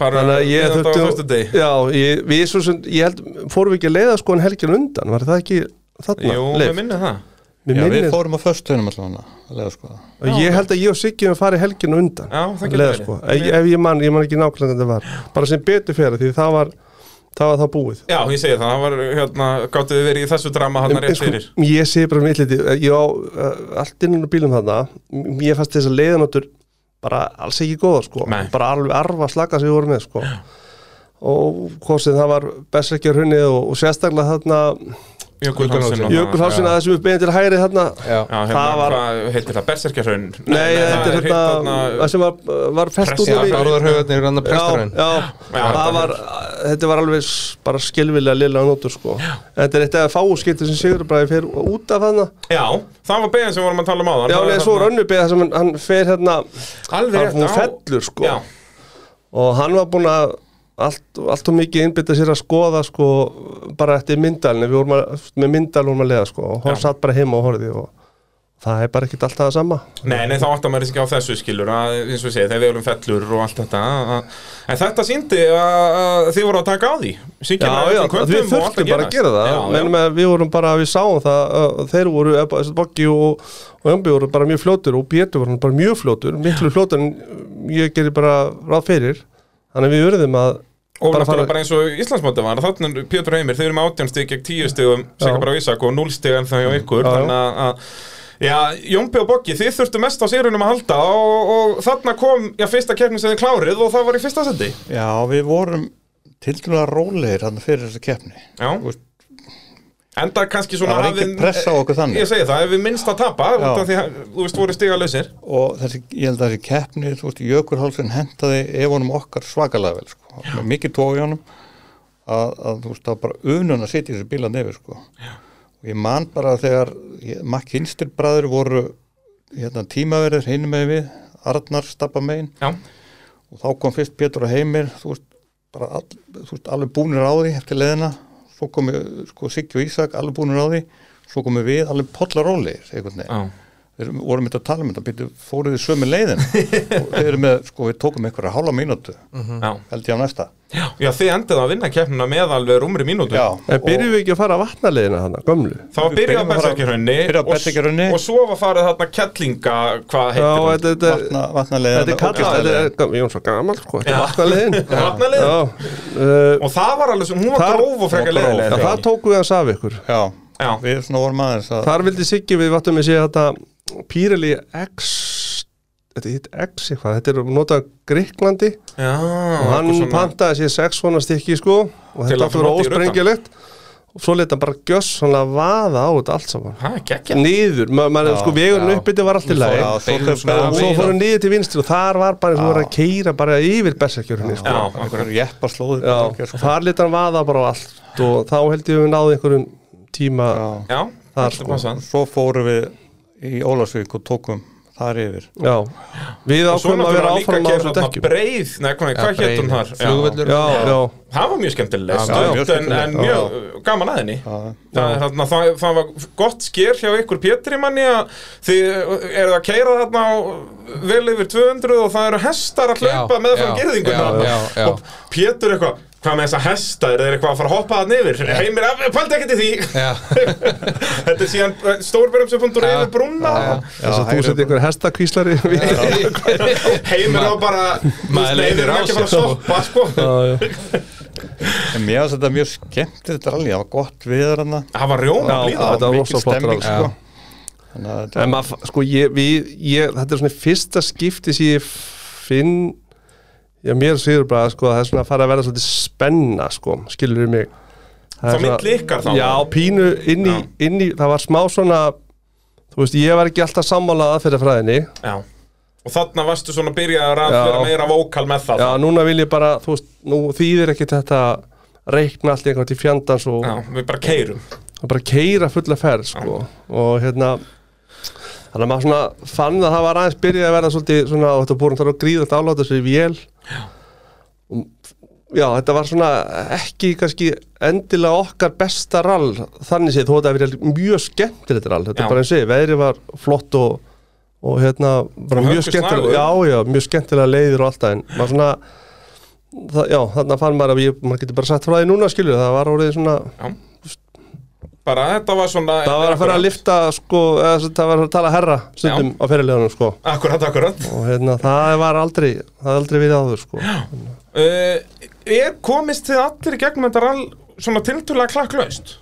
bara þannig að ég þurfti á þurfti föstudegi já, ég, við svo sem, ég held fórum við ekki að leiða sko en helgjum undan var það ekki þarna Jú, við Leif? minnið það Mér Já, við minnir- fórum á föstunum allavega að leiða skoða og ég held að ég og Siggi við farið helgjum undan Já, það að getur leiða verið. sko, ef, ef ég man, ég man ekki nákvæmlega hvernig það var, bara sem betur fyrir því það var það var það búið Já, ég segi það, það var, hérna, gáttu þið verið í þessu drama hann En- en rétt sko, fyrir ég sé bara með illiti ég á uh, allt innan á bílum þarna ég fannst þess að leiðanóttur bara alls ekki góða sko Nei. bara alveg arfa slaka sem við vorum með sko og hvað sem það var bestsækjar hunnið og, og sérstaklega þarna Jökulhálsinn og jökulhásin já. að þessum við bein til hæri þarna já, Já, hérna, Það var- hvað heitir það, Berserkjahraun nei, þetta það er hérna þarna það sem var, var fest út um Pressa- já af því. Bárðarhaugarnir er annað já, prestarinn já, Já, það var, þetta var alveg s- bara skilvilega lilla nótur sko þetta er eitt af fáskipti sem Sigur bara fyrir út af hana Já, það var beðin sem vorum að tala um áðan Já, Það nei, er svo þarna- er önnu beða sem hann, hann fer hérna Alveg hann rétt, hún já. fellur sko Já, og hann var búinn að allt, allt og mikið innbytta sér að skoða sko bara eftir myndalni við vorum að, með myndal vorum að leiða sko og hann Já. satt bara heima og horfði og það er bara ekkert alltaf það sama Nei, nei, þá áttar maður ekki á þessu skilur að, eins og ég segi, þegar við erum fellur og allt þetta að, að, En þetta síndi að, að þið voru að taka á því Sýkja Já, já, við þurftum bara að gera það Já, mennum að við vorum bara, við sáum það uh, þeir voru, eh, bara, þessi Boggi og, og Ömbi voru bara mjög fljótur og Pétur voru bara mjög fljótur, miklu fljótur en ég gerir bara ráð fyrir þannig að við verðum að Og bara náttúrulega fara- bara eins og Íslandsmóti var Þannig Pétur Heimir, þau eru með átján stig gegn tíu stigum Sika bara á Ísak og núl stig en það hjá ykkur Já, já. Þannig að- að Já, Jónbi og Boggi, þið þurftu mest á sérunum að halda og, og þarna kom já, fyrsta keppni sem þið klárið og það var í fyrsta sendi Já, við vorum tildulega rólegir hann fyrir þessa keppni Já, Þú veist, enda kannski svona það var hafið- engin pressa á okkur þannig Ég segi það, ef við minnst að tapa Já. út af því að, þú veist, voru stiga lausir og þessi, ég held að þessi keppni þú veist, Jökulhálsinn hentaði efunum okkar svakalega vel, sko, með mikið tói honum að, að þú veist, það var bara unun að sitja í þessu bílan yfir, sko Já. og ég man bara þegar ég- Mack Hinstir bræður voru hérna, tímaverðir hinum með við Arnar Stabba megin Já, og þá kom fyrst Pétur og Heimir þú veist, bara all, þú veist, alveg búnir á því eftir leðina svo komu sko, Siggi og Ísak alveg búnir á því svo komu við alveg pollar rólegir einhvern veginn já, við erum- vorum þetta að tala um þetta, býttu, fóruð þið sömu leiðin og við erum með, sko, við tókum einhverja hálfa mínútu, Mhm. Já. held ég á næsta Já. Já, þið endið að vinna keppnuna með alveg rúmri mínútu Já, En byrjum við ekki að fara að vatnalegina hana, gömlu? Það var Við byrjað byrjum á að fara- Berserkjörunni byrja á Berserkjahrauni. og, og svo var farið þarna kettlinga, hvað Já, heitir hún? þetta, og þetta, vatna, vatnaleiðan þetta er kallað, þetta er, gam- ég er svo gammal sko, þetta er vatnalegin. Vatnaleiðin. Já, uh, Og það var alveg sem, hún var Þar- gróf og frekar Hún var gróf, leiðileg já, það tóku við að safa ykkur. Já, Já. við svona vorum aðeins að Þar vildi Siggi við vatnum við séð þetta Pírali X, þetta hitt X eitthvað, þetta er notað af Gríklandi. Já, og hann eitthvað svona- pantaði sér sex svona stykki sko og Til að þetta átti að vera nota í ruddan. ósprengilegt og svo leta hann bara gjöss svona vaða á þetta allt saman Ha, geggjað. niður, ma maður sko vegurinn já. uppbytti var allt í lagi Já, svo Beinum svona þau- og svo við- fórum niður til vinstri og þar var bara eins og voru að keira bara yfir berserkjörunni Já, sko. akkurat. einhverju jeppaslóði Já, og þar leta hann vaða bara á allt og þá held ég við náði einhverjum tíma já, Já, Já, Þar, þetta sko. passa. svo fórum við í Ólasvík og tókum þar yfir við Og svo ákveðum að vera náttúrulega líka áfram á gerði þarna þessum dekkjum breið, nei, hvað, hvað hétt hún þar? Já. Flugvöllur já, já, Það var mjög skemmtileg Já, mjög stönd en, skemmtileg. en mjög uh, gaman að henni Já. það, er þarna, það, það var gott sker hjá ykkur Pétri manni að þið eru að keira þarna á vel yfir 200 og það eru hestar að hlaupa Já, meðfram já, já, gerðinguna já, já. og Pétur eitthvað hvað með þessa hesta, eru þeir eitthvað að fara að hoppa þarna yfir heimir, af- pældu ekkert í því Já, þetta er síðan eh, stórberðum.ru Já. yfir brúna þess að þú hægri- setja einhver hestakvíslari já, heimir á bara maður leiðir leiðir á ekki að fara sér. að stoppa sko. já. En mér finnst þetta mjög skemmt þetta rally, það var gott viður hann það var rjóma Já. blíða þetta var rosa flott stemming rally. sko. Þannig að þetta En maður, fa- sko, ég, við, ég, þetta er svona fyrsta skipti sem ég finn, já, mér sigur bara, sko, það er svona að fara að vera svolítið spenna, sko, skilur við mig. Þá er svona- milli ykkar þá? Já, pínu inn í, inn í, það var smá svona, þú veist, ég var ekki alltaf sammála aðferða fræðinni. Já. og þarna varstu svona byrjaður að Já. vera meira vókal með það Já, núna vil ég bara, þú veist, nú þýðir ekki þetta að reikna allt einhvern til fjandans og, Já, við bara keirum og bara keira fulla ferð sko. og hérna þannig að maður svona fann að það var aðeins byrjað að verða svolítið svona og þetta búin þar að gríða þetta áláta sér í vél já. já, þetta var svona ekki kannski endilega okkar besta rall þannig séð þó að þetta hafi verið mjög skemmtilegt rall þetta Já. er bara eins og ég, veðrið var flott og, og hérna bara Og mjög hörkuslagur. skemmtilega, já, já, mjög skemmtilega leiðir og alltaf en maður svona það, já, þannig að fann maður að ég, maður getur bara sagt frá því núna skilur, það var orðið svona Bara þetta var svona Það var að fara að lifta sko, eða, sem sagt, það var að tala herra stundum á fyrirleganum sko Akkurat, akkurat og hérna, það var aldrei, það er aldrei við áður sko uh, Er komist þið allir í gegnum þetta rall svona tiltölulega klakklaust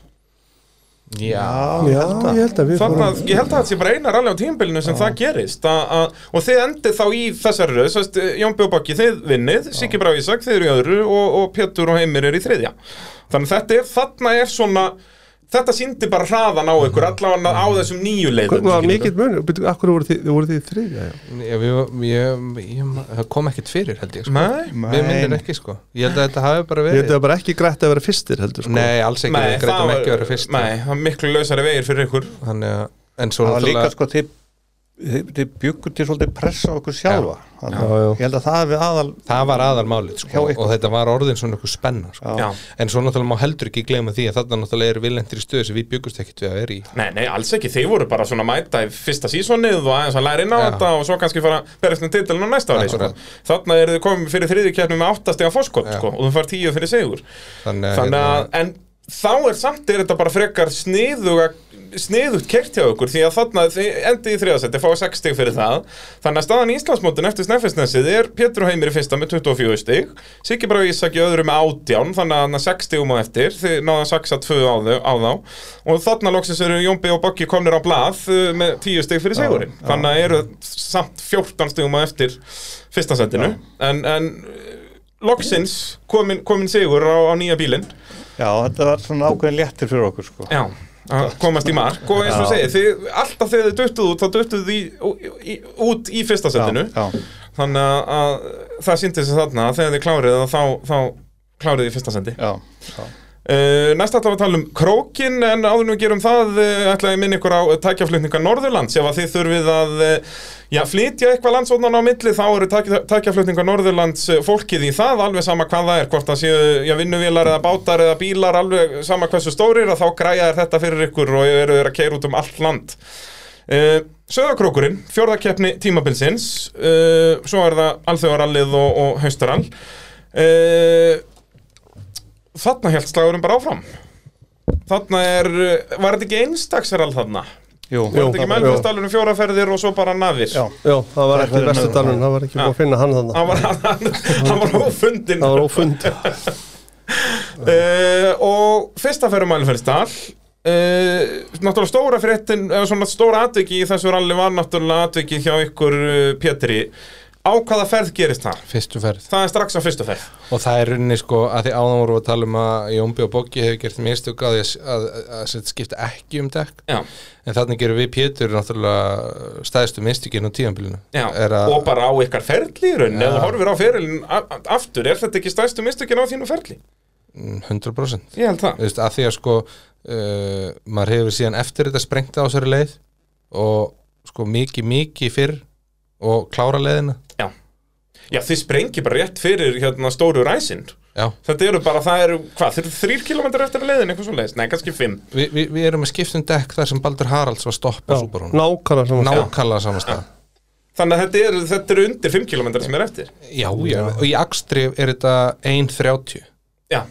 já Já, ég held að við Þannig að ég held að það sé bara eina rally á tímabilinu sem það gerist a, a, og þið endið þá í þessari röð svo veist, Jón Bjóbakki, þið vinnið Siggi Bravísak, þið eru í öðru og, og Pétur og Heimir eru í þriðja Þannig að þetta er, þarna er svona Þetta síndi bara hraðan á ykkur allavega á þessum nýju leiðum Hvað Mm. var skilurðu. mikill munur? Býtu, akkur voru þið, þið voru þið þriðja? já? Ég, ég, ég, ég, það kom ekkert fyrir held ég sko. Nei, Við myndir ekki sko Ég held að þetta hafi bara Ég verið held að það bara ekki grætt að vera fyrstir heldur sko Nei, alls ekki, Nei, við greitum ekki að vera fyrst Nei, það er miklu lausari vegir fyrir ykkur Þannig að, en svo það var líka náttúrulega sko þið, þið, þið bjuggu til svolítið pressa á okkur sjálfa Þannig að Já, já. ég held að það hefði aðal Það var aðalmálið Hjá sko ykkur. Og þetta var orðin svona ykkur spenna sko Já. En svo náttúrulega má heldur ekki gleyma því að þarna náttúrulega er vilendir í stöðu sem við byggust ekkert við að vera í Nei, nei, alls ekki, þeir voru bara svona að mæta í fyrsta sísonið og aðeins að læra inn á Já. þetta og svo kannski fara að berjast um titilin á næsta ári sko. Akkurat. Þarna eru þið komið fyrir þriðju keppni með áttastega foskot sko, og þú far tíu fyrir sigur Þannig að, Þannig að, hérna, en þá er samt er þetta bara frekar sniðuga sniðut kert hjá ykkur því að þarna þið endið í þriðasetti, fáið 6 stig fyrir það þannig að staðan í Íslandsmótin eftir Snæfellsnesið er Pétur og Heimir í fyrsta með 24 stig Siggi Bragi Ísaki öðru með 18 þannig að hann er 6 stigum á eftir þið náða 6 að 2 á, þau, á þá og þarna loksins eru Jónbi og Boggi komnir á blað uh, með 10 stig fyrir sigurinn þannig að eru samt 14 stigum á eftir fyrsta setinu en, en uh, loksins komin, komin sigur á, á nýja bílinn Já, þetta var svona ákveðin léttir fyrir okkur sko Já, að komast í mark og eins og Já. segið, þið, alltaf þegar þið duttuð út þá duttuð þið í, í, út í fyrsta setinu já, þannig að, að það sýndi sig þarna að þegar þið klárið það þá, þá klárið í fyrsta sendi já, já. uh, Næst ætlum við að tala um krókin en áður nú gerum það uh, ætla ég minna ykkur á tækjaflutninga Norðurlands ef að þið þurfið að uh, já, flytja eitthvað landsóðnan á milli þá eru tækja- tækjaflutninga Norðurlands uh, fólkið í það alveg sama hvað það er hvort það séu já, vinnuvélar eða bátar eða bílar alveg sama hversu stórir að þá græja er þetta fyrir ykkur og eru þeir að keira út um allt land Uh, Söðakrókurinn, fjórðakeppni tímabilsins uh, Svo er það alþjóðarallið og, og haustarall uh, Þarna held slagurinn bara áfram Þarna er, uh, var þetta ekki einstaksarall þarna? Jú, Var þetta ekki þarna- mælfestallurinn fjóraferðir og svo bara nafir? já, Já, það var Það ekki er bestu nú- dalun, það var ekki búið að finna hann þannig Hann var, hann, hann var ófundin Það var ófund uh, Og fyrsta ferðum mælferðstall Uh, náttúrulega stóra fréttin eða svona stóra atviki í þessu ralli var náttúrulega atviki hjá ykkur uh, Pétri á hvaða ferð gerist það? fyrstu ferð Það er strax á fyrstu ferð og það er runni sko að því áðan voru að tala um að Jónbi og Boggi hefur gert mistök að, að, að, að, að skipta ekki um dekk Já, en þannig gerum við Pétur náttúrulega stæðstu mistökinn á tíðanbílinu já, er að og bara á ykkar ferli í raun, eða horfir á ferilin a- aftur, er þetta ekki stærstu mistökin á þínu ferli? Mm, 100% Ég held Þú það veist, að því að sko uh, maður hefur síðan eftir þetta sprengt á þessari leið og sko mikið mikið fyrr og klára leiðina Já, já þið sprengi bara rétt fyrir hérna stóru ræsin já, Þetta eru bara, það eru, hvað, þeir eru þrýr kilometrar eftir að leiðin, eitthvað svo leiðis, nei, kannski fimm Vi, vi, við erum að skipta um dekk þar sem Baldur Haralds var stopp á Súbarún Nákvæmlega sko. saman nákvæmlega saman stað Þannig að þetta eru, þetta eru undir fimm kilometrar sem er eftir já, já, og í Akstri er þetta 1.30 Já,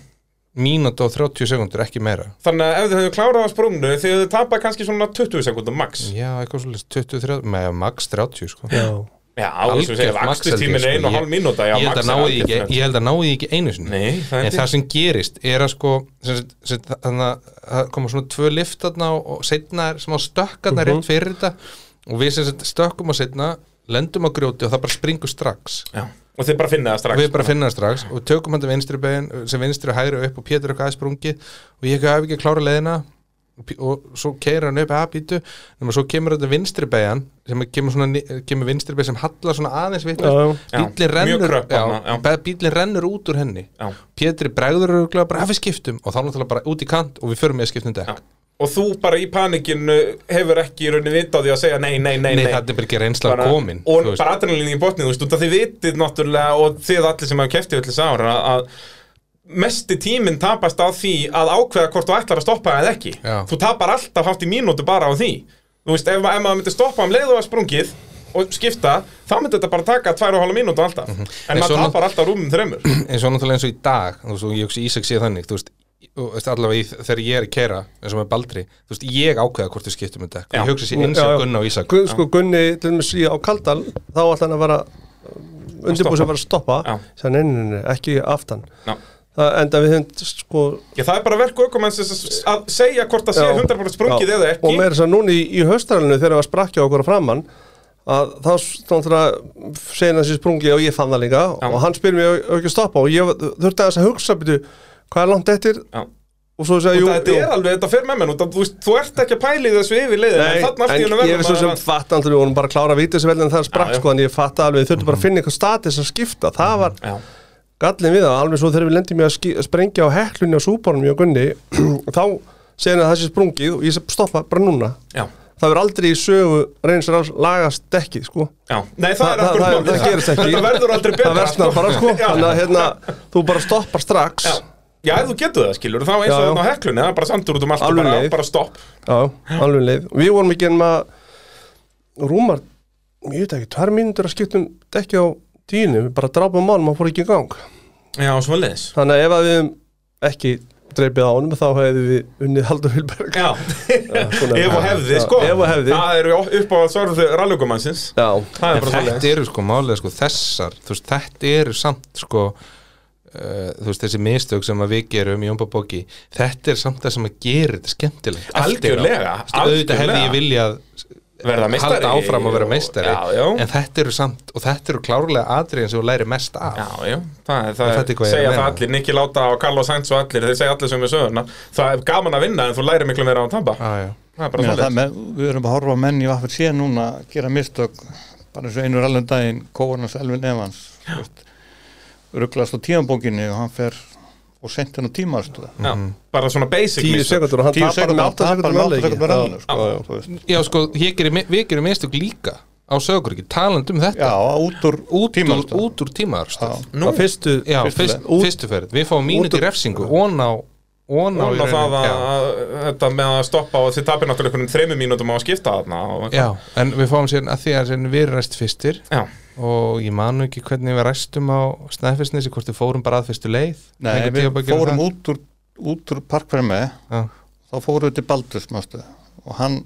mínúti og 30 sekundur, ekki meira þannig að ef þið hefðu klárað á sprungnu, þið hefðu tapað kannski svona 20 sekundum max já, eitthvað svolítið 20-30, með max 30 sko. Já, Já, þess að Algjört segja, max held ég, axtutímin sko. er ein og Ég- hálf mínúta, já, ég held max að er náði því algjört ekki, frelsi. ég held að náði því ekki einu sinni Nei, það er en það sem gerist er að sko sem, sagt- sem, sagt, þannig að það koma svona tvö liftarna og, og setna er smá stökkarna rétt fyrir þetta og við sem sagt, stökkum að setna lendum á grjóti og það bara springur strax Já, og þið bara finna það og strax við bara finnum það strax og tökum hann til vinstri begin sem vinstri og hægri upp og Pétur eitthvað aðsprungi og ég hef ekki að klára leiðina og P- og svo keira hann upp að býtu nema svo kemur þetta vinstri begin sem er- kemur, svona, ni- kemur vinstri begin sem hallar svona aðeins Já, já. vitlaust. Já, bíllinn mjög rennur, kröpp þarna, já. be- bíllinn rennur út úr henni Já. Pétri bregður örgulega bara að við skiptum og þá náttúrulega bara út í kant og við förum með að skiptum dekk Já. Og þú bara í panikinu hefur ekki í rauninni vit á því að segja nei, nei, nei, Nei, það er bara ekki reynsla bara, komin og þú veist. bara adrenalin í botnið, þú veist, út af þið vitið náttúrulega og þið allir sem hafa keftið allir sára að mesti tíminn tapast á því að ákveða hvort þú ætlar að stoppa eða ekki Já. þú tapar alltaf hátt í mínútu bara á því þú veist, ef, ef maður myndi stoppa um leið og að sprungið og skipta, þá myndi þetta bara taka 2,5 mínútu alltaf en Nei, maður Mhm. svona- tapar alltaf rúmum þremur eins og náttúrulega eins og í dag þú veist, og ég hugsa Ísak sé þannig þú veist, og, veist, allavega í, þegar ég er að kera eins og með Baldri, þú veist, ég ákveða hvort þú skiptum um dekk, Já. ég hugsa sér eins og Gunna og Ísak Gun- Sko Gunni, til dæmis í á Kaldal þá ætla hann að vera undirbúið sem var að stoppa Já. Sér neyninni, ekki aftan Já. Það enda við höfum sko Já, það er bara verku aukumenns að segja hvort það sé Já. 100% sprungið Já. eða ekki Og meira þess að núna í, í höstralinu þegar það var sprakkja okkur að framann að þá stóðan segir þessi sprungi og ég fann það líka Já. og hann spyr mér "Á- á ekki að stoppa og ég þurfti aðeins að hugsa byrju, hvað er langt eftir Já. og svo segja Jú, jú, þetta jú. er alveg, þetta fer með menn út af, þú, veist, þú ert ekki að pæli þessu yfir leiðin Nei, en þarna allt í en hennu ég verður veist sem að fatt andri og hún bara að klára að víta þessi vel en það Já, Mm. já. sprakk sko en ég fatt alveg þurfti bara að finna eitthvað statis að skipta það var Já, gallin við það alveg svo þegar við lendum í að, ski, að sprengja á heklunni á súbárnum og Gunni þá segir hann að þessi sprungið og ég sem stoppa bara núna já, það verður aldrei í sögu reyns að lagast dekki sko já Nei, það Þa- er það- akkur það- það gerist ekki. Þetta verður aldrei betra það versnar bara sko Já. þannig að hérna, þú bara stoppar strax Já, já ef þú getur það, skilur, þá eins og Já, já. þannig á heklunni Það er bara sandur út um allt og Alveg bara, leið. bara stopp já, alveg um leið við vorum ekki en maður rúmar, ég veit ekki, tvær mínútur að skiptum dekki á tíinu við bara drápum mánum, hann fór ekki í gang Já, svo leiðis þannig að ef að við hefum ekki dreipið á honum þá hefðum við unnið Haldur Vilberg Já, svona- ef og hefði, Já, sko ef og hefði. Það eru upp á svarðu rallugumannsins já, Það en er bara svo þetta eru sko málega sko þessar þú veist, þetta eru samt sko uh, þú veist, þessi mistök sem að við gerum í Jómba Bóki, þetta er samt það sem að gera þetta skemmtilegt eftir á. Algjörlega, Þú veist, auðvitað hefði algjörlega. ég viljað Verða meistari halda áfram að vera meistari Já, já. en þetta eru samt, og þetta eru klárlega atriðin sem þú læri mest af Já, já, það, er- það þetta er er, hvað ég er segja að það meina. allir, Nicky Láta og Carlos Sainz og allir, þeir segja allir sem er sögurna Það er gaman að vinna en þú lærir miklu meira á að tamba Já, já. Það er bara Meina, svoleiðis. það með, við erum að horfa á menn í vaffet síðan núna að gera mistök bara eins og einur allan daginn Kóvarnas Elvin Evans rugglast á tímanbókinni og hann fer og sent hann á tímaðstöða Já, bara svona basic tíu mistök. sekundur og hann tíu tapar sekundar, með hann átta tapar sekundur með átta sekundar já, alveg sko, þú veist. Já, sko, ég gerir, við gerum mistök líka á söguríki, talandi um já, þetta út úr út, úr, tímaðstöða út úr tímaðarstöð það fyrstu Já, Fyrstu fyrst, ferð. fyrstu ferð, við fáum mínúti úr- refsingu og ná on á, í Núna rauninni, það að, já. að þetta með að stoppa og þið tapir náttúrulega einhvern þreimum mínútum á að skipta þarna og eitthvað. Já, en við fáum sér að því að sér við ræst fyrstir Já, og ég manu ekki hvernig við ræstum á snæðfisnesi, hvort við fórum bara að fyrstu leið Nei, við fórum út úr, út úr parkverðin með Já, þá fórum við til Baldurs mástu, og hann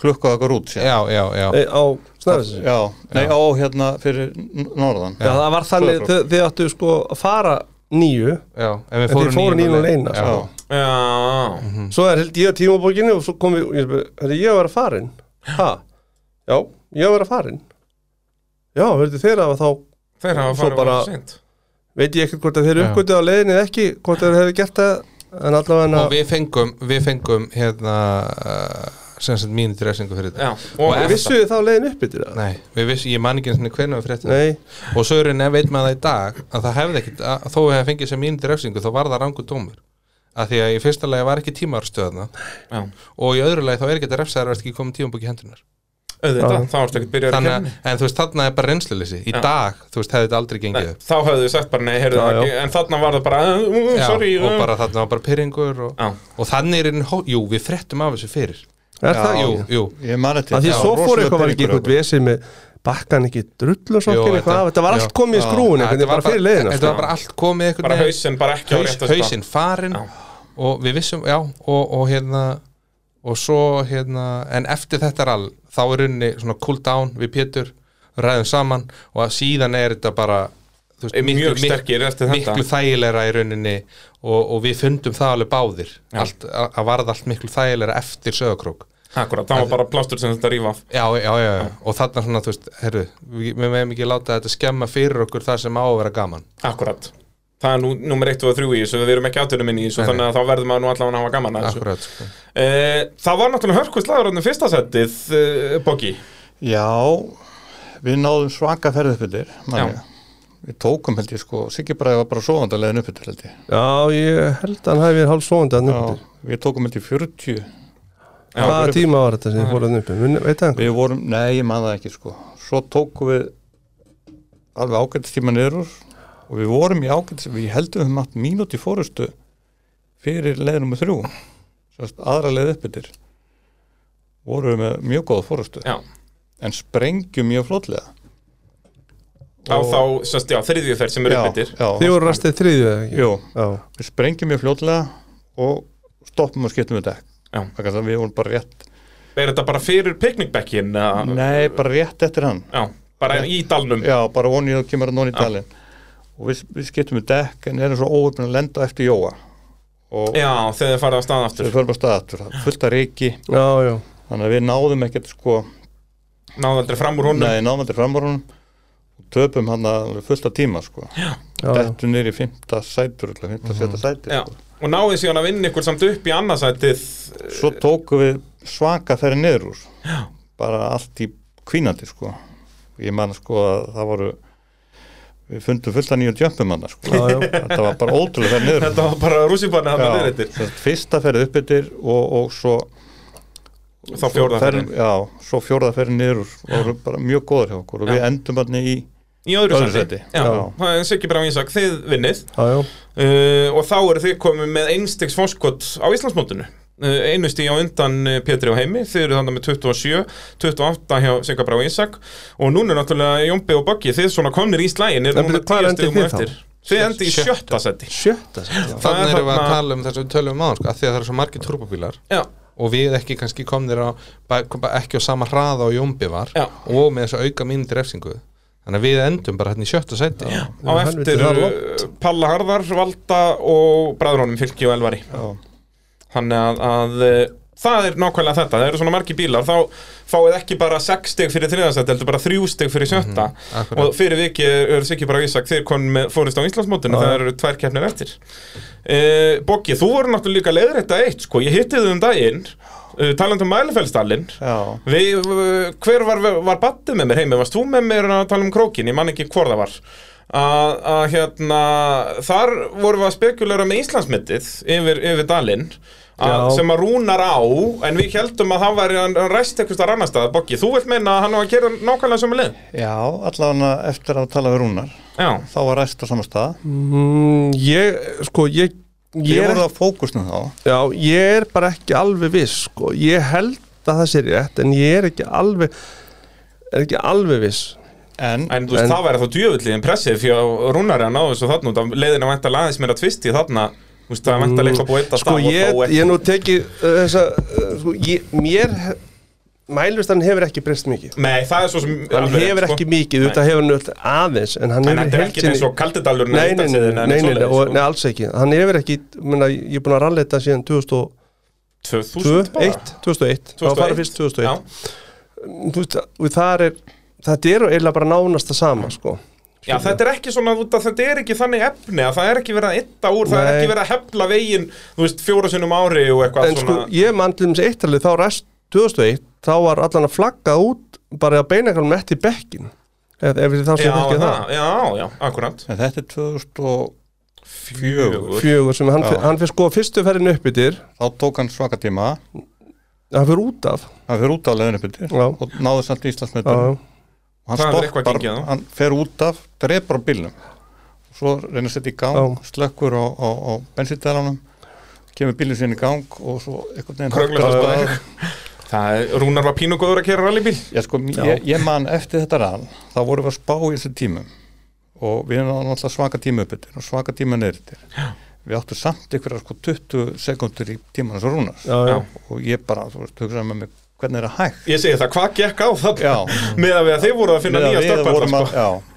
klukkaði okkur út síðan. já, já, já. Nei, á snæðis Já, nei, á hérna fyrir n- norðan Já, það var þannig, Tvö þið, þið áttu sko að fara nýju, já en við En þið fóru níu núll eina, Já, Mm. sko. já, Mhm. svo er held ég að tímabókinni og svo kom við, ég spyr, herri, ég var að farin ha, já, ég var að farin já, hörðu þeir að þá þeir hafa Svo farið bara- bara... sent veit ég ekki hvort að þeir Já. uppgötu á leiðinni eða ekki, hvort að þeir hefðu gert það en allavega og við fengum, við fengum hérna uh, sem sagt mínu dressingu fyrir þetta Já, Og og ef- viss... vissu þið þá leiðin upp yfir það? Nei, við vissi, ég man ekki einu sinni hvernig við fréttum Nei, og svo er henni veit maður það í dag að það hefði ekkit, að, þó við hefði fengið sem mínu dressingu þá var það rangur dómur að því að í fyrsta lagi var ekki tímarstöðna já, og í öðru lagi þá er ekki að refsa þær að ekki komið tímabóki hendunar auðvitað, Já. þá ertu ekkert byrjar að þannig kenna að, en þú veist, þarna er bara reynsluleysi í dag, þú veist, hefði þetta aldrei gengið upp Þá höfðu þið sagt bara, nei, heyrðu Já, það já. ekki En þarna var það bara, uh, uh, Já, sorry og uh. bara þarna var bara pyrringur og, Já. og þannig er einn, hó- jú, við fréttum af þessu fyrir er það? jú, jú, Ég man þetta að því Já, svo fór rosalega eitthvað var ekki pirringur eitthvað vesið með bakkan ekki drull og Jú, sokkin þetta- eitthvað af, þetta var já. allt komið í Já. skrúin eitthvað, þetta bara fyrir leiðina sko. þetta var bara allt komið einhvern Bara veginn. hausinn, bara ekki á haus, réttu stað. hausinn farinn Já. og við vissum, já, og, og hérna og svo hérna en eftir þetta rall, þá er unni svona cool down við Pétur, ræðum saman og að síðan er þetta bara þú Mjög mik- sterkir eftir þetta. miklu þægilegra í rauninni og, og við fundum það alveg báðir Já. allt, að að varð allt miklu þægilegra eftir sögakrók Akkurat, það var bara plástur sem þetta rífa af já, já, já, já, og þarna svona, þú veist, herru við við meðum ekki láta þetta skemma fyrir okkur það sem á að vera gaman Akkurat Það er nú nummer 1 og 3 í þessu, við erum ekki átunum inn í þessu Nei, Þannig að þá verðum að nú allavega að hafa gaman að þessu Akkurat, sko. Eh, Það var náttúrulega hörkvistlaður Þannig fyrsta settið, uh, Boggi Já, við náðum svaka ferð uppbyttir Við tókum held ég sko, Siggi Bræði var bara sofandi að leiðin uppbyttir held ég já, ég held að hann hafi verið hálf svoandi að Já, nýttir við tókum held ég 40 hvaða tíma var þetta sem þið fóruð nýttir veit það einhver? Við vorum, nei, ég man það ekki sko Svo tókum við alveg ágættistíma niður úr og við vorum í ágættis, við heldum um við höfum átt mínúti fórustu fyrir leiðinum með þrjú Sest, aðra leið uppbyttir vorum við með mjög góða fórustu Já, en sprengjum mjög flotlega á þá, sérst, já, þriðju ferð sem er uppbyttir já, þið voru rastið þriðju eða ekki? Jú, Já. við sprengjum mjög fljótlega og stoppum og skiptum við dekk Já. Vegna þess að við vorum bara rétt Er þetta bara fyrir picnicbackin? eða- nei, bara rétt eftir hann Já, bara í dalnum Mm. já, bara vonið að kemur hann nón í dalinn og við, við skiptum við dekk en erum svo óöfnum að lenda eftir jóa og Já, þegar þið farið á stað aftur við förum að staða aftur það er fullt að reiki, já, já, þannig að við náðum ekkert sko, Náðu aldrei fram úr honum nei, náðum aldrei framar honum og töpum hann að fullt að tíma sko, já, já. dettu nýri fymta sætur, fymta sjötta sætur Mhm. Já, sko. og náðið síðan að vinna ykkur samt upp í annarsætið svo Eh, tókum við svaka ferri niður úr já. bara allt í kvínandi sko ég man sko að það voru við fundum fullt að nýjum jömpum hann sko. Já, já. þetta var bara ótrúlega ferri niður Þetta var bara rússipanna hann að já, þeirreitir sem sagt, fyrsta ferri uppbyttir og, og svo Þá fjórða ferðin ferð- já, svo fjórða ferri niður úr og voru bara mjög góður hjá okkur og við endum hann í Í öðru öðru sæti sæti. Já, Já. það er Siggi Bram Ísak, þið vinnið já, já. uh, og þá eru þið komið með einstegs fórskott á Íslandsmótinu uh, einu stíð á undan uh, Pétri og Heimi þið eru þannig með 27, 28 hjá Sigga Brá Ísak og núna er náttúrulega Jómbi og Boggi, þið svona komnir í slægin En eru núna byrju, hvar 10 endið stíðum þið þá? eftir þið endi í sjötta seti sjötta sæti, Það já. er þannig erum við að þarna- tala um þess að við tölum á sko, að því að það eru svo margir turbobílar já, og við ekki kannski komnir á ba- ba- ekki á sama hraða og Jómbi var Já. og með þess að auka mínu refsingu þannig að við endum bara hérna í sjötta sæti á já. Já, helviti, eftir það er uh, langt. Palla Harðar, Valda og bræðrónum Fylki og Elvari já, þannig að, að eh, það er nákvæmlega þetta, það eru svona margi bílar þá fáið ekki bara 6 stig fyrir þriðansætt heldur bara 3 stig fyrir sjötta akkurat. og fyrir vikið er sikið bara Ísak þeir konum með fórist á Íslandsmótinu það eru tvær keppnir eftir uh, Boggi, þú voru náttúrulega líka leiður þetta eitt sko, ég hitti þau um daginn uh, talandi um mælefellstallinn já, Við, uh, hver var, var battið með mér heimi? Varst þú með mér að tala um krókin? Ég man ekki hvort það var að, að hérna þar vorum við að spekulera með Íslandsmyndið yfir, yfir Dalinn að, Já. sem að rúnar á en við heldum að hann væri hann ræst eitthvað þar annar stað Boggi, þú vilt meina að hann var að gera nákvæmlega sömu leið já allavega eftir að tala við Rúnar Já, þá var ræst á sama stað Mm, ég, sko, ég Ég er voru það fókusnum þá Já, ég er bara ekki alveg viss sko. Ég held að það sé rétt en ég er ekki alveg er ekki alveg viss En, En þú veist, En- það væri þá djöfulli impressið fyrir að rúnari að ná þessu þarna út af leiðin að vænta aðeins meira tvist í þarna Þú veist, það er vænta leika búið eitt að Sko ég, ég nú teki uh, þessa, uh, sko, ég, mér mælustan hefur ekki breyst mikið Nei, það er svo sem hann alveg rétt, hefur sko. ekki mikið, þetta hefur hann öll aðeins en hann En hefur þetta er ekki heildsinni- eins og kaldidalur Nei, nei, nei, nei, sko. nei, nei, sko. og, nei, alls ekki Hann hefur ekki, mena, ég er búin að ralleta síðan 2002, 2000 bara 1, 2001 Það var farið fyrst 2001 Já, Þú veist, og þar er, þetta er eiginlega bara nánast það sama, sko já, þetta er ekki svona, út af- þetta er ekki þannig efni að það er ekki verið að ytta úr, það er Nei. ekki verið að hefla veginn, þú veist, fjóra sinnum ári og eitthvað En sko, ég mann til þessi eittalið, þá rest 2001, þá var allan að flagga út bara að beina ekki með í bekkin Ef, ef þá já, sem þekki það það, já, já, akkurat en þetta er 2000 og Fjögur Fjögur sem hann, Já. fer- hann fyrir sko fyrstu ferðin upp yfir þá tók hann svaka tíma Hann fyrir út af hann fyrir út af leiðinu byrju Já. og náði samt Íslandsmetur Já, hann Það er eitthvað stoppar, gengið, já. hann fer út af drepar á bílnum og svo reynir að setja í gang, Já. slökkur á, á, á bensíndælanum kemur bílinn sinni í gang og svo einhvern veginn Krönglar hakkar það af bara. stað. Það er, Rúnar var pínugóður að kera rallybíl Já, sko, ég, ég man eftir þetta rann þá vorum við að spá í þessu tímum og við erum náttúrulega svaka tíma uppbyttir og svaka tíma neyrirtir við áttum samt ykkur sko 20 sekundur í tíman svo rúnast já, já. og ég bara, þú veist, hugsaði með mig hvernig er það hægt Ég segi það, hvað gekk á það Já. með að við að þeir voru að finna Meðan nýja við stöpparna vorum sko. að-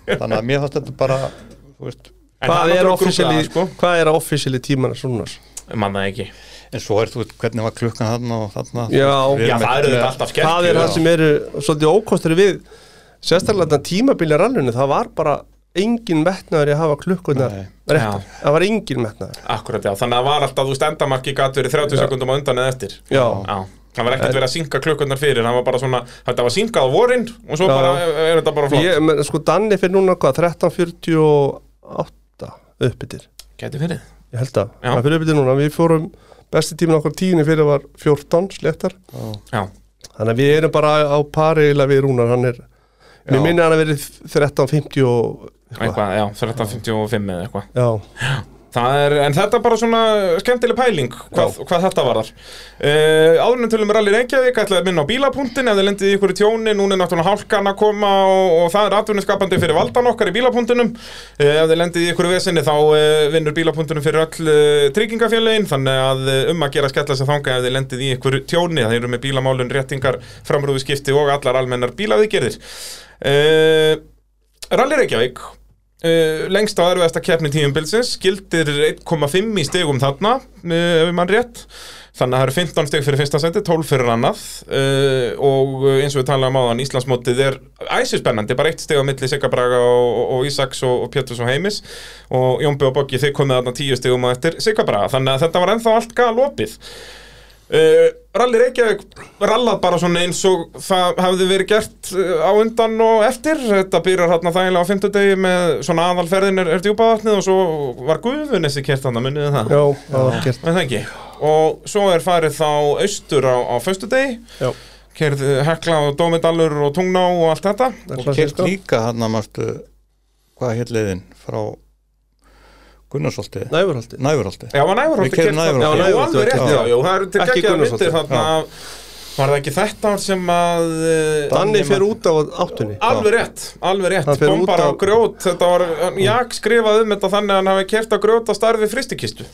já, þannig að mér fannst þetta bara þú veist, En það Hvað er sko. náttúrulega officially, grúflaði, hvað er officially tímana Rúnars? sko Manna ekki en svo er þú veist hvernig var klukkan þarna og þarna Já. Við Já, erum það ekki eru með- þetta alltaf skellt það er það sem eru svolítið ókostur við sérstaklega þetta tímabili rallinu það var bara engin metnaður í að hafa klukkunar Nei. réttar, Já. það var engin metnaður Akkurat, já, þannig að það var alltaf, þú veist, endamarki gæti verið 30 sekundum á undan eða eftir já, Já, það var ekkert verið að synka klukkurnar fyrir Það var bara svona, þetta var synkað á vorin og svo Já. bara, er þetta bara flott ég, men, sko Danni fyrir núna hvað 13.48 uppbyttir, Gæti fyrir ég held að Já. það fyrir uppbyttir núna, við fórum besti tímin okkar tíðinni fyrir var 14 sléttar Já, þannig að við erum bara á pari eiginlega við Rúnar, hann er mér Já. minna hann að verið 13.50 og eitthvað, eitthvað, já, 13.55 eða eitthvað já Það er, en þetta er bara svona skemmtileg pæling hvað, hvað þetta varðar uh, Áðurinnum tölum rally Reykjavík ætlaði að minna á bílapunktin ef þið lendið í ykkur í tjóni núna er náttúrulega hálkan að koma og, og það er atvinniskapandi fyrir valdan okkar í bílapunktinum uh, ef þið lendið í ykkur í vesinni þá uh, vinnur bílapunktinum fyrir öll uh, tryggingafélagin þannig að uh, um að gera skella sig þanga ef þið lendið í ykkur tjóni það eru með bílamálun, réttingar, framrúðuskipti og allar almennar bílaviðgerðir uh, Rally Reykjavík Uh, lengst á erfiðasta keppni tíumbilsins gildir 1,5 í stegum þarna uh, ef mann rétt þannig að það eru 15 steg fyrir fyrsta seti, 12 fyrir annað uh, og eins og við talaðum áðan Íslandsmótið er æsispennandi bara eitt steg á milli Sigabraga og, og Ísaks og, og Péturs og Heimis og Jónbi og Boggi þeir komið þarna 10 stegum á eftir Sigabraga þannig að þetta var ennþá allt galopið Uh, Rally Reykjavík rallað bara svona eins og það hafði verið gert uh, á undan og eftir þetta byrjar hérna þægilega á fimmtudegi með svona aðalferðin er, er djúpaðatnið og svo var Guðunessi kert hann að munniði það já, það var gert en það ekki og svo er farið þá austur á, á föstudegi já, kerð Hekla og Dómedalur og Tungná og allt þetta það er og klassískt, kert sko. líka hann að mástu hvað hér leiðin frá Gunnarsólti Næfurhaldi Næfurálti Já, var Nævarholti Við keyrðum Næfurholti. Já, Já, Næfurholti, alveg rétt, já. já, já, það eru til Ekki geggjaðar Gunnarsholti. myndir þarna Var það ekki þetta ár sem að uh, Danni fyrir út á áttunni Alveg rétt, alveg rétt, Hann fer bombar út á á- grjót Þetta var, Jack skrifaði um þetta þannig að hann hafi kert á grjót að starfi fristikistu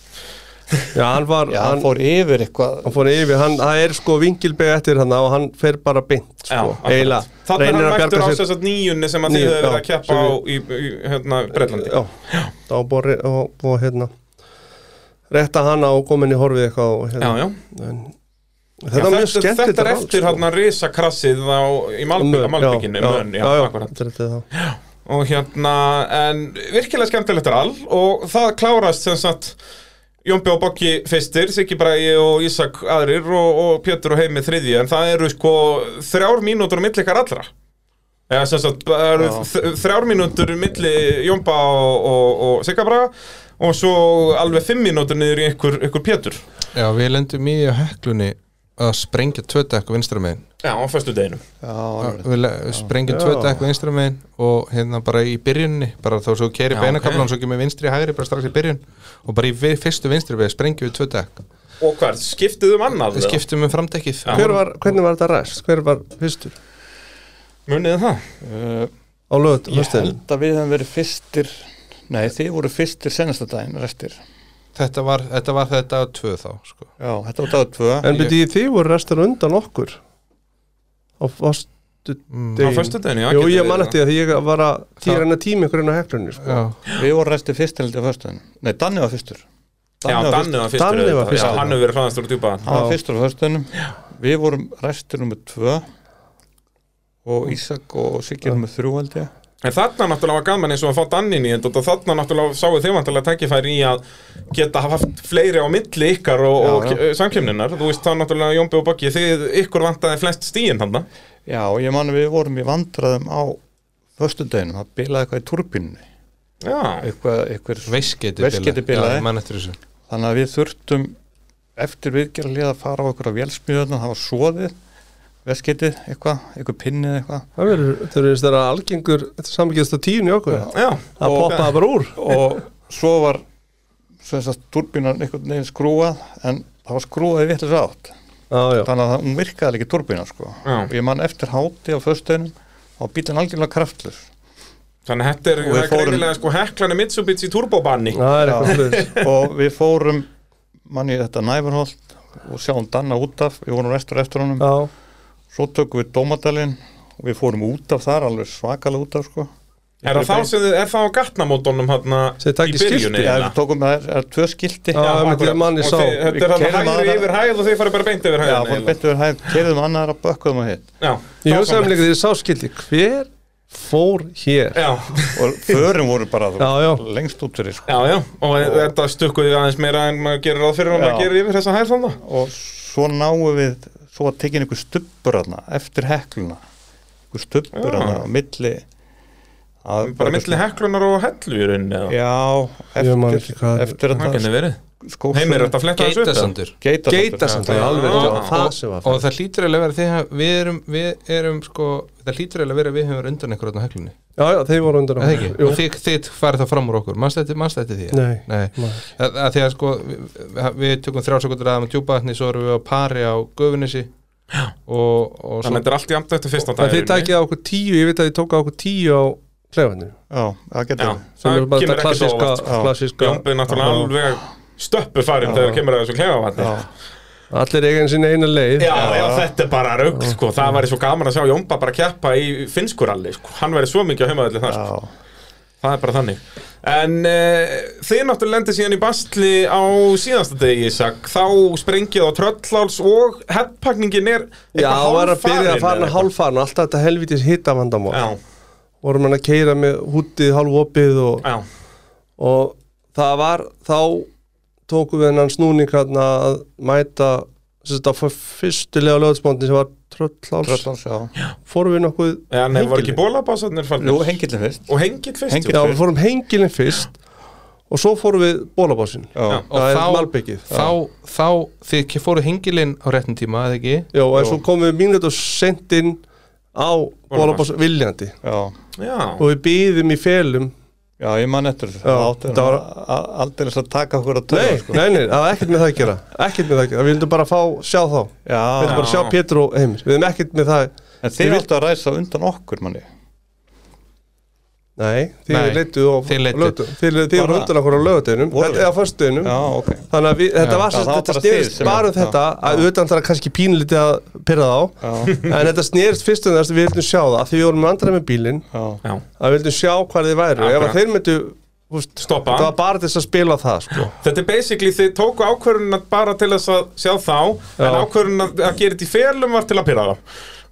Já, hann var, Já, hann, hann fór yfir eitthvað hann fór yfir hann, Það er sko vingilbeg eftir hann og hann fer bara beint sko, eiginlega Þannig Reynir hann að mættur á bjarga sér þess að nýjunni sem að þið Níu, hefur verið að já, keppa á sem í, í hérna, Breitlandi Já, þá búið og, og hérna Retta hana og komin í horfið eitthvað og, Já, hérna. já. En, Já, Þetta var mjög sko. skemmt þetta er eftir hann að risa krassið á, í Malbygg, Malbygginu, mönn, já, já, akkurat. þetta er eftir þá. og hérna, en virkilega skemmtilegt er all og það klárast sem sagt Jónbi og Bokki fyrstir, Siggi Brægi og Ísak aðrir og, og Pétur og Heimi þriðji en það eru sko þrjár mínútur á milli ykkar allra eða sem sagt, það eru þ- þrjár mínútur á milli Jónba og, og, og Sigga Bræga og svo alveg fimm mínútur niður í ykkur, ykkur Pétur Já, við lendum í á heklunni að sprengja tvö dekk vinstra megin Já, á föstu deginum Já, alveg. við le- sprengjum tvö dekk vinstra megin og hérna bara í byrjunni bara þá svo keri Já, beinakablan ok. svo kemur vinstri í hægri bara strax í byrjun og bara í vi- fyrstu vinstri við sprengjum við tvö dekk Og hvað, skiptið um annað? við skiptum um framdekkið Já. Hver var, hvernig var þetta ræst? Hver var fyrstur Munið þið það? Uh, á lögut? ég held að við hefum verið fyrstir nei þið voru fyrstir senastadaginn restir þetta var þetta, var þetta tvö þá sko. já þetta var dagur tvö En byrju, þið voru restur undan okkur á fastu Á deginu. föstu deginu, já Jú, getið ég þið man það. eftir því að ég var að Það- týra hennar tími ykkur hennar heklunni, sko. Já. við vorum restir fyrst heldur á föstudaginn nei Danni var fyrstur Já, var Danni var fyrstur Danni var auðvitað. fyrstur. Já, hann hefur verið hraðast úr djúpa hann var fyrstur á föstudaginnum við vorum restir nummer tvö og Ísak og Siggi nummer þrjú held ég En þarna náttúrulega var gaman eins og að fá Dannin í þetta og þarna náttúrulega sáu þið vantilega tækifæri í að geta hafa haft fleiri á milli ykkar og, Já, og já. já. samkjöfninar Þú veist þá náttúrulega Jónbi og Boggi, þið ykkur vantaði flest stíin þarna já ég man að við vorum í vandræðum á föstudaginnum það bilaði eitthvað í turbinni Já, eitthvað, eitthvað Vesketi Vesketi bilaði. Já, ég man eftir þessu þannig að við þurftum eftir viðgerðarlið að fara á okkur á vélsmíðuna það var svoðið veskitið eitthvað, eitthvað pinnið eitthvað Það verður, þau eru þess að algengur samlíkjast á tíun í okkur. já, Það Og- poppaði bara úr. og svo var sem sagt turbínan einhvern veginn skrúað en það var skrúað í vitlis átt Já, já. þannig að það- hún virkaði ekki turbínan sko Já. og ég man eftir háti á föstunum og bílinn algjörlega kraftlur þannig að þetta er, Og við það er fórum- greinilega sko heklanu Mitsubishi turbobanni Það er eitthvað sluðis. og við fórum manni þetta næfurholt og sjáum Danna út af, við vorum restur eftir honum Já, svo tökum við Dómadalinn og við fórum út af þar, alveg svakalega út af sko Er það þá sem þið, er það á gatnamótonum hérna Sem þið takið skilti. Já, við tókum það er, er tvö skilti Já, Já, einmitt, ég akkurat. man, ég Og sá. þið- Þetta Við er keyrðum hann hægri aðra- yfir hæð og þið farið bara beint yfir já hæðina fórum betur við hæð, keirðum annar að bökkuðum að hitt eiginlega. ég Já, hugsaði mér líka því að ég sá skildi. Hver fór hér? Já, og förum voru bara þú, Já, já. lengst út fyrir sko. Já, já, og þetta stukkuði aðeins meira en maður gerir ráð fyrir og maður Já. gerir yfir þessa hæð þannig og svo náum við svo að tekin einhver stubbur aðna eftir hekluna einhver stubbur Já. aðna á milli að, Ah. Bara milli heklunar og hellu í rauninni eða já, Ég man ekki eftir, hvað- eftir Það að geti verið skófsum Heimir er þetta að fletta þessu upp eða? Geitasandur geita, Geita samt, það Já. er alveg Já. rétt. Það var það Og- sem var og fyrir. það hlýtur eiginlega að vera því að við erum, við erum sko, það hlýtur eiginlega að vera að við höfum verið undan ykkur á heklunni Já, já, þeir voru undan Er það ekki? Jú. og þið, þið farið það fram úr okkur, mannst þetta, mannst þetta því Nei. Nei. Nei. Að, að því að sko við, við tökum þrjá sekundur aðeins með djúpaðatni svo erum við á pari á gufinissi og, og Þannig að svo þetta er allt jafnt eftir fyrsta dag En þið takið á okkur tíu, ég veit að þið tók á okkur tíu á klefandi. já, það Já, geta Sem það er bara kemur þetta ekki svo klassíska, óvart Já. klassíska. Jónbið náttúrulega alveg stöppu farin þegar kemur að þessu klefa vatni já, Allir eiga sinni eina leið. Já, já, þetta er bara rugg, sko Það væri svo gaman að sjá Jónba bara keppa í finskuralli, sko Hann væri svo mikið á heimaðalli þar, sko já. Það er bara þannig En uh, þið náttúrulega lendið síðan í bastli á síðasta degi, Isak Þá sprengið á trölláls og heppakningin er Já, eitthvað var að byrja hálffarin að fara eða eitthvað. hálffarin, alltaf þetta helvitis hitta vandamál. Já, Vorum hann að keira með hútið hálfopið og, já, og það var, þá tókum við hennan snúning hérna að mæta, sem þetta var fyrstilega lögðspóndin sem var tröllháls. Tröllans, já. Fórum við nokkuð já, nei, voru ekki hengilinn? bólabásarnir Jú, farnir hengillin fyrst Og hengið fyrst, Hengill. jú. Já, við fórum hengilinn fyrst og svo fórum við bólabásin. já, Já. og Það er þá- malbyggið. þá, þá þið fóru hengilinn á réttin tíma eða ekki Já, og svo komum við mínútu og sendin á bólabásin viljandi já, Já, og við býðum í felum já, ég man eftir þessu. Já, það átti þetta var- aldrei að taka okkur að töða Nei, nei, nei, það var ekkert með það að gera Ekkert með það að gera, við vildum bara fá, sjá þá Við já, vildum bara sjá Pétur og Heimir Við vildum ekkert með það En þeir viltu að ræsa undan okkur manni Nei, þið Nei, leituð og þið leituð. lögdu Þið þið voru Bara- undan okkur á lögadeginum Voru Eða föstudeginum Já, ok Þannig að við, þetta Já, var það sérst, var þetta bara snerist þið sem- bara um já, þetta að auðvitað það er kannski pínlítið að pyrra þá Já, en þetta snerist fyrst um þess að við vildum sjá það af því við vorum andra með bílinn já, já að við vildum sjá hvað þið væru ef Akkurat. að þeir myndu, þú veist, Stoppa. þetta var bara til þess að spila það sko. Þetta er basically þið tóku ákvörðunna bara til þess að sjá þá en Já. ákvörðunna að gera þetta í felum var til að pyrra þá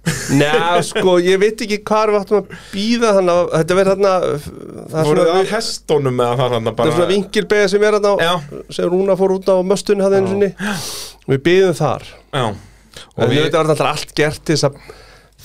Nei, sko, ég veit ekki hvar við áttum að býða þannig að þetta verður þarna það er Voru svona, það af hestunum eða það þannig það er bara svona vinkilbega sem er þarna á, Já. sem Rúna fór út á möstunni hann einu sinni við býðum þar Já, Og en við- þetta var alltaf allt gert til þess að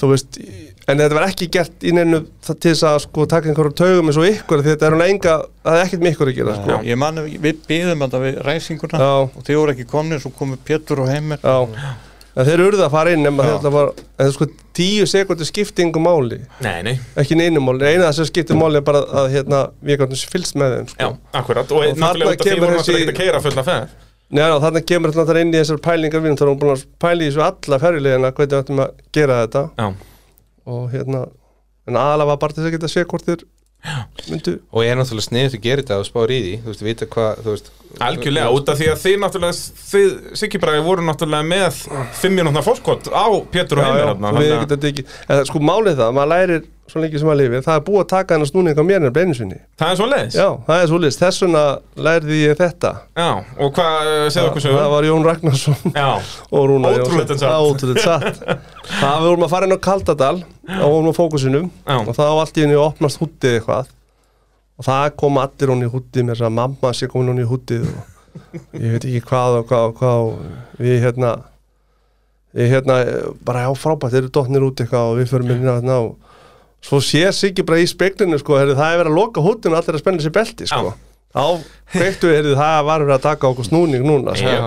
þú veist, í- en þetta var ekki gert í neinu það- til þess að sko taka einhverjum taugum eins og ykkur því þetta er hún enga það er ekkert með ykkur að gera sko já. Ég man að við byðum þetta við ræsinguna Já. og þeir voru ekki komnir svo komu Pétur og Heimir Já. En þeir urðu að fara inn nema Já. þeir alltaf var, en það er sko tíu sekundir skiptingu máli, Nei, nei, ekki neinu máli, eina það sem skiptir máli er bara að hérna, við gætum fylgst með þeim sko. já, akkurat Og, Og náttúrulega þarna út af því kemur vorum við þessi- ekki að keira fulla ferð Nei, ná, þarna kemur alltaf inn í þessar pælingar við, þá erum við búin að pæla í þessu alla ferjulegina, hvernig við ættum að gera þetta Já, og hérna, en aðalega var bara til þess að geta sé hvort þeir myndu og ég er náttúrulega sniðið að gera þetta og spáir í því þú veist, vita hvað, þú veist algjörlega, út af því að þið náttúrulega Þið, Siggi Bragi, voru náttúrulega með Fimm mínútna fórskot á Pétur og Já, já, Heimir þarna, við þannig að getum tekið- en það- sko málið það, maður lærir svo lengi sem maður lifir, það er búið að taka hennar snúning á mér en brennisunni, Það er svo leiðis já, það er svolítið þess vegna lærði ég þetta Já, og hvað, eh, segðu okkur sögur það var Jón Ragnarsson Já, og Rúna Ótrúlegt en satt. Ótrúleitt satt Það við vorum að fara inn á Kaldadal og vorum á fókusinum Já. og það var allt í henni að opnast húttið eitthvað og það kom allir hún í húttið með þess að mamma sé komin hún í húttið og ég veit ekki hvað og hvað og hvað og við hérna við hérna eh, bara já frábært þeir eru dottnir út eitthvað og við förum inn á hérna og svo sér Siggi bara í speklinu sko, herri, það er verið að loka húttinu og allir að spenna sér belti sko. Já. á kveiktu herri, það var verið að taka okkur snúning núna sko Já.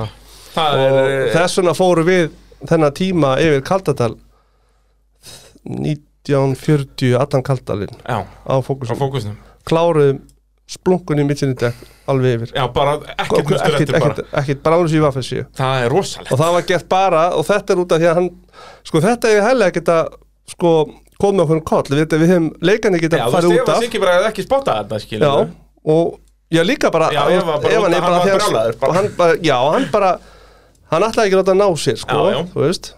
það og er eh, þess vegna fóru við þennan tíma yfir Kaldadal 1940 allan Kaldalinn Já, á á fókusum fókusnum kláruðum splunkunni mittinindek alveg yfir Já, bara ekkert nustur ekkert, eftir bara ekkert, ekkert, bara alveg sem ég var fyrir síu Það er rosalegt og það var gert bara og þetta er út af því að hann sko þetta er heilega geta sko komið okkur um koll við, við hefum leikandi geta Já, þú farið veist, út ef að af Siggi Bragi hefði ekki spottað þetta, já, skilur og já líka bara Já, þú ég veist, var bara ef út hann að er hann var þegar- brjálaður bara. og hann bara, já, hann bara hann ætlaði ekki að láta hann ná sér sko, Já, já. þú veist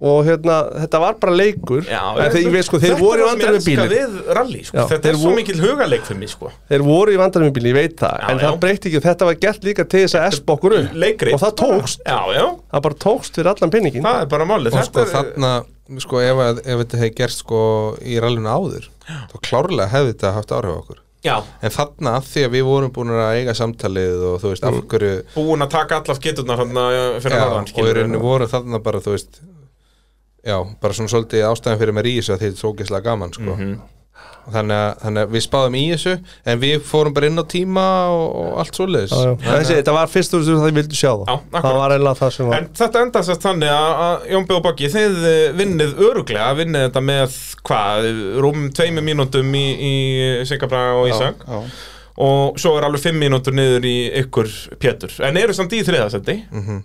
og hérna, þetta var bara leikur Já, en þeir, ég veit sko, þeir voru í vandræðum með bílinn Þetta er það sem ég elska við rally, sko. Já, þetta þeir er svo vo- mikil hugaleik fyrir mig, sko. þeir voru í vandræðum með bílinn, ég veit það Já, en já. það breyti ekki, þetta var gert líka til þess að espa okkur upp Leikrið. og það tókst, Já, já, það bara tókst fyrir allan penningin það er bara málið. og sko er- þarna, sko ef, að- ef þetta hefði gerst sko í rallinu áður þá klárlega hefði þetta haft áhrif á okkur Já, en þarna af því að við vorum búin að eiga samtalið og þú veist af hverju búin að taka allar skitturnar hann Mm. fyrir já, að hann, og í rauninu voru þarna bara þú veist já, bara svona svolítið ástæðan fyrir mér í þessu að þetta er svo gæslega gaman sko. Mhm. þannig, að, þannig að við spáðum í þessu en við fórum bara inn á tíma og, og allt svoleiðis Já, já. Þessi, þetta var fyrst og það ég vildi sjá það Já, það akkurat. var eiginlega það sem var En þetta endar sérst þannig að, að Jón B. og Baggi, þið eh, vinnið öruglega, vinnið þetta með, hvað, rúm tveimur mínútum í, í Sigabra og Ísak já. og svo er alveg fimm mínútur niður í ykkur Pétur, en eru samt í þriðasendi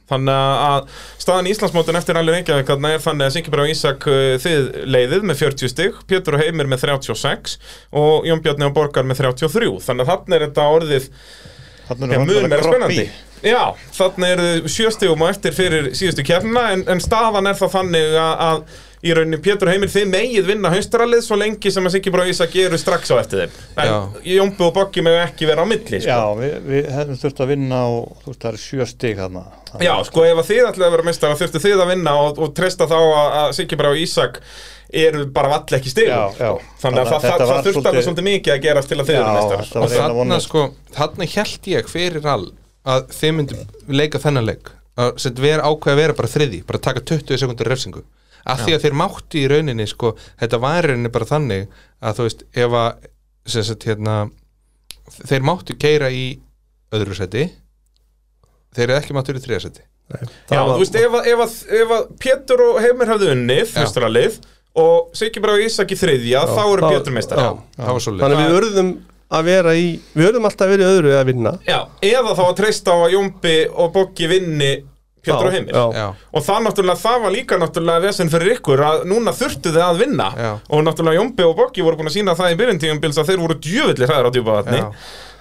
þannig að staðan í Íslandsmótin eftir alveg Reykjavík þarna er þannig að Singibra og Ísak uh, þið leiðið með 40 stig Pétur og Heimir með 36 og Jón Bjarni og Borgar með 33 þannig að þarna er þetta orðið Þarna Já, erum við mun meira vandræðalega kropp spennandi í. Já, þarna eru þau sjö stigum á eftir fyrir síðustu kefna en, en staðan er það þannig að, að í rauninni Pétur og Heimir þið megið vinna haustralið svo lengi sem að Siggi Brá Ísak geru strax á eftir þeim en Jómbu og Boggi með ekki vera á milli sko. Já, við, við hefðum þurft að vinna og þú veist, það er sjö stig hérna Já, sko ef að þið ætlaði að vera meistara þurftu þið að vinna og, og treysta þá að, að Siggi Brá Ísak eru bara vall ekki stigum Já, sko. já. þannig að Þannig að það, þetta það, var það þurfti alveg svolítið- svolítið mikið að gerast til að þið Já, eru meistara þetta var og eiginlega þarna vonlaust. sko þarna held ég fyrir all að þið myndum leika þennan leik að sem vera ákveða að vera bara þriði bara taka 20 sekundur refsingu af því að þeir máttu í rauninni sko þetta var í rauninni bara þannig að þú veist ef að sem sagt, hérna, þeir máttu keira í öðru seti þeir eru ekki máttu í þriða seti Já, þú veist, ef, að- ef, að- ef að Pétur og Heimir hafði unnið, Já. haustralið og Siggi Brá Ísak í þriðja, þá eru þá- Pétur meistar já, það var svo leik þannig að við urðum að vera í við urðum alltaf að vera í öðru að vinna Já, eða þá að treysta á að Jómbi og Boggi vinni Pétur Já, og Heimir já. já, Og það náttúrulega, það var líka náttúrulega vesen fyrir ykkur að núna þurftu þið að vinna Já. og náttúrulega Jómbi og Boggi voru búin að sína það í byrjuntíumbils að þeir voru djöfullir hræður á djúpaðatni Já.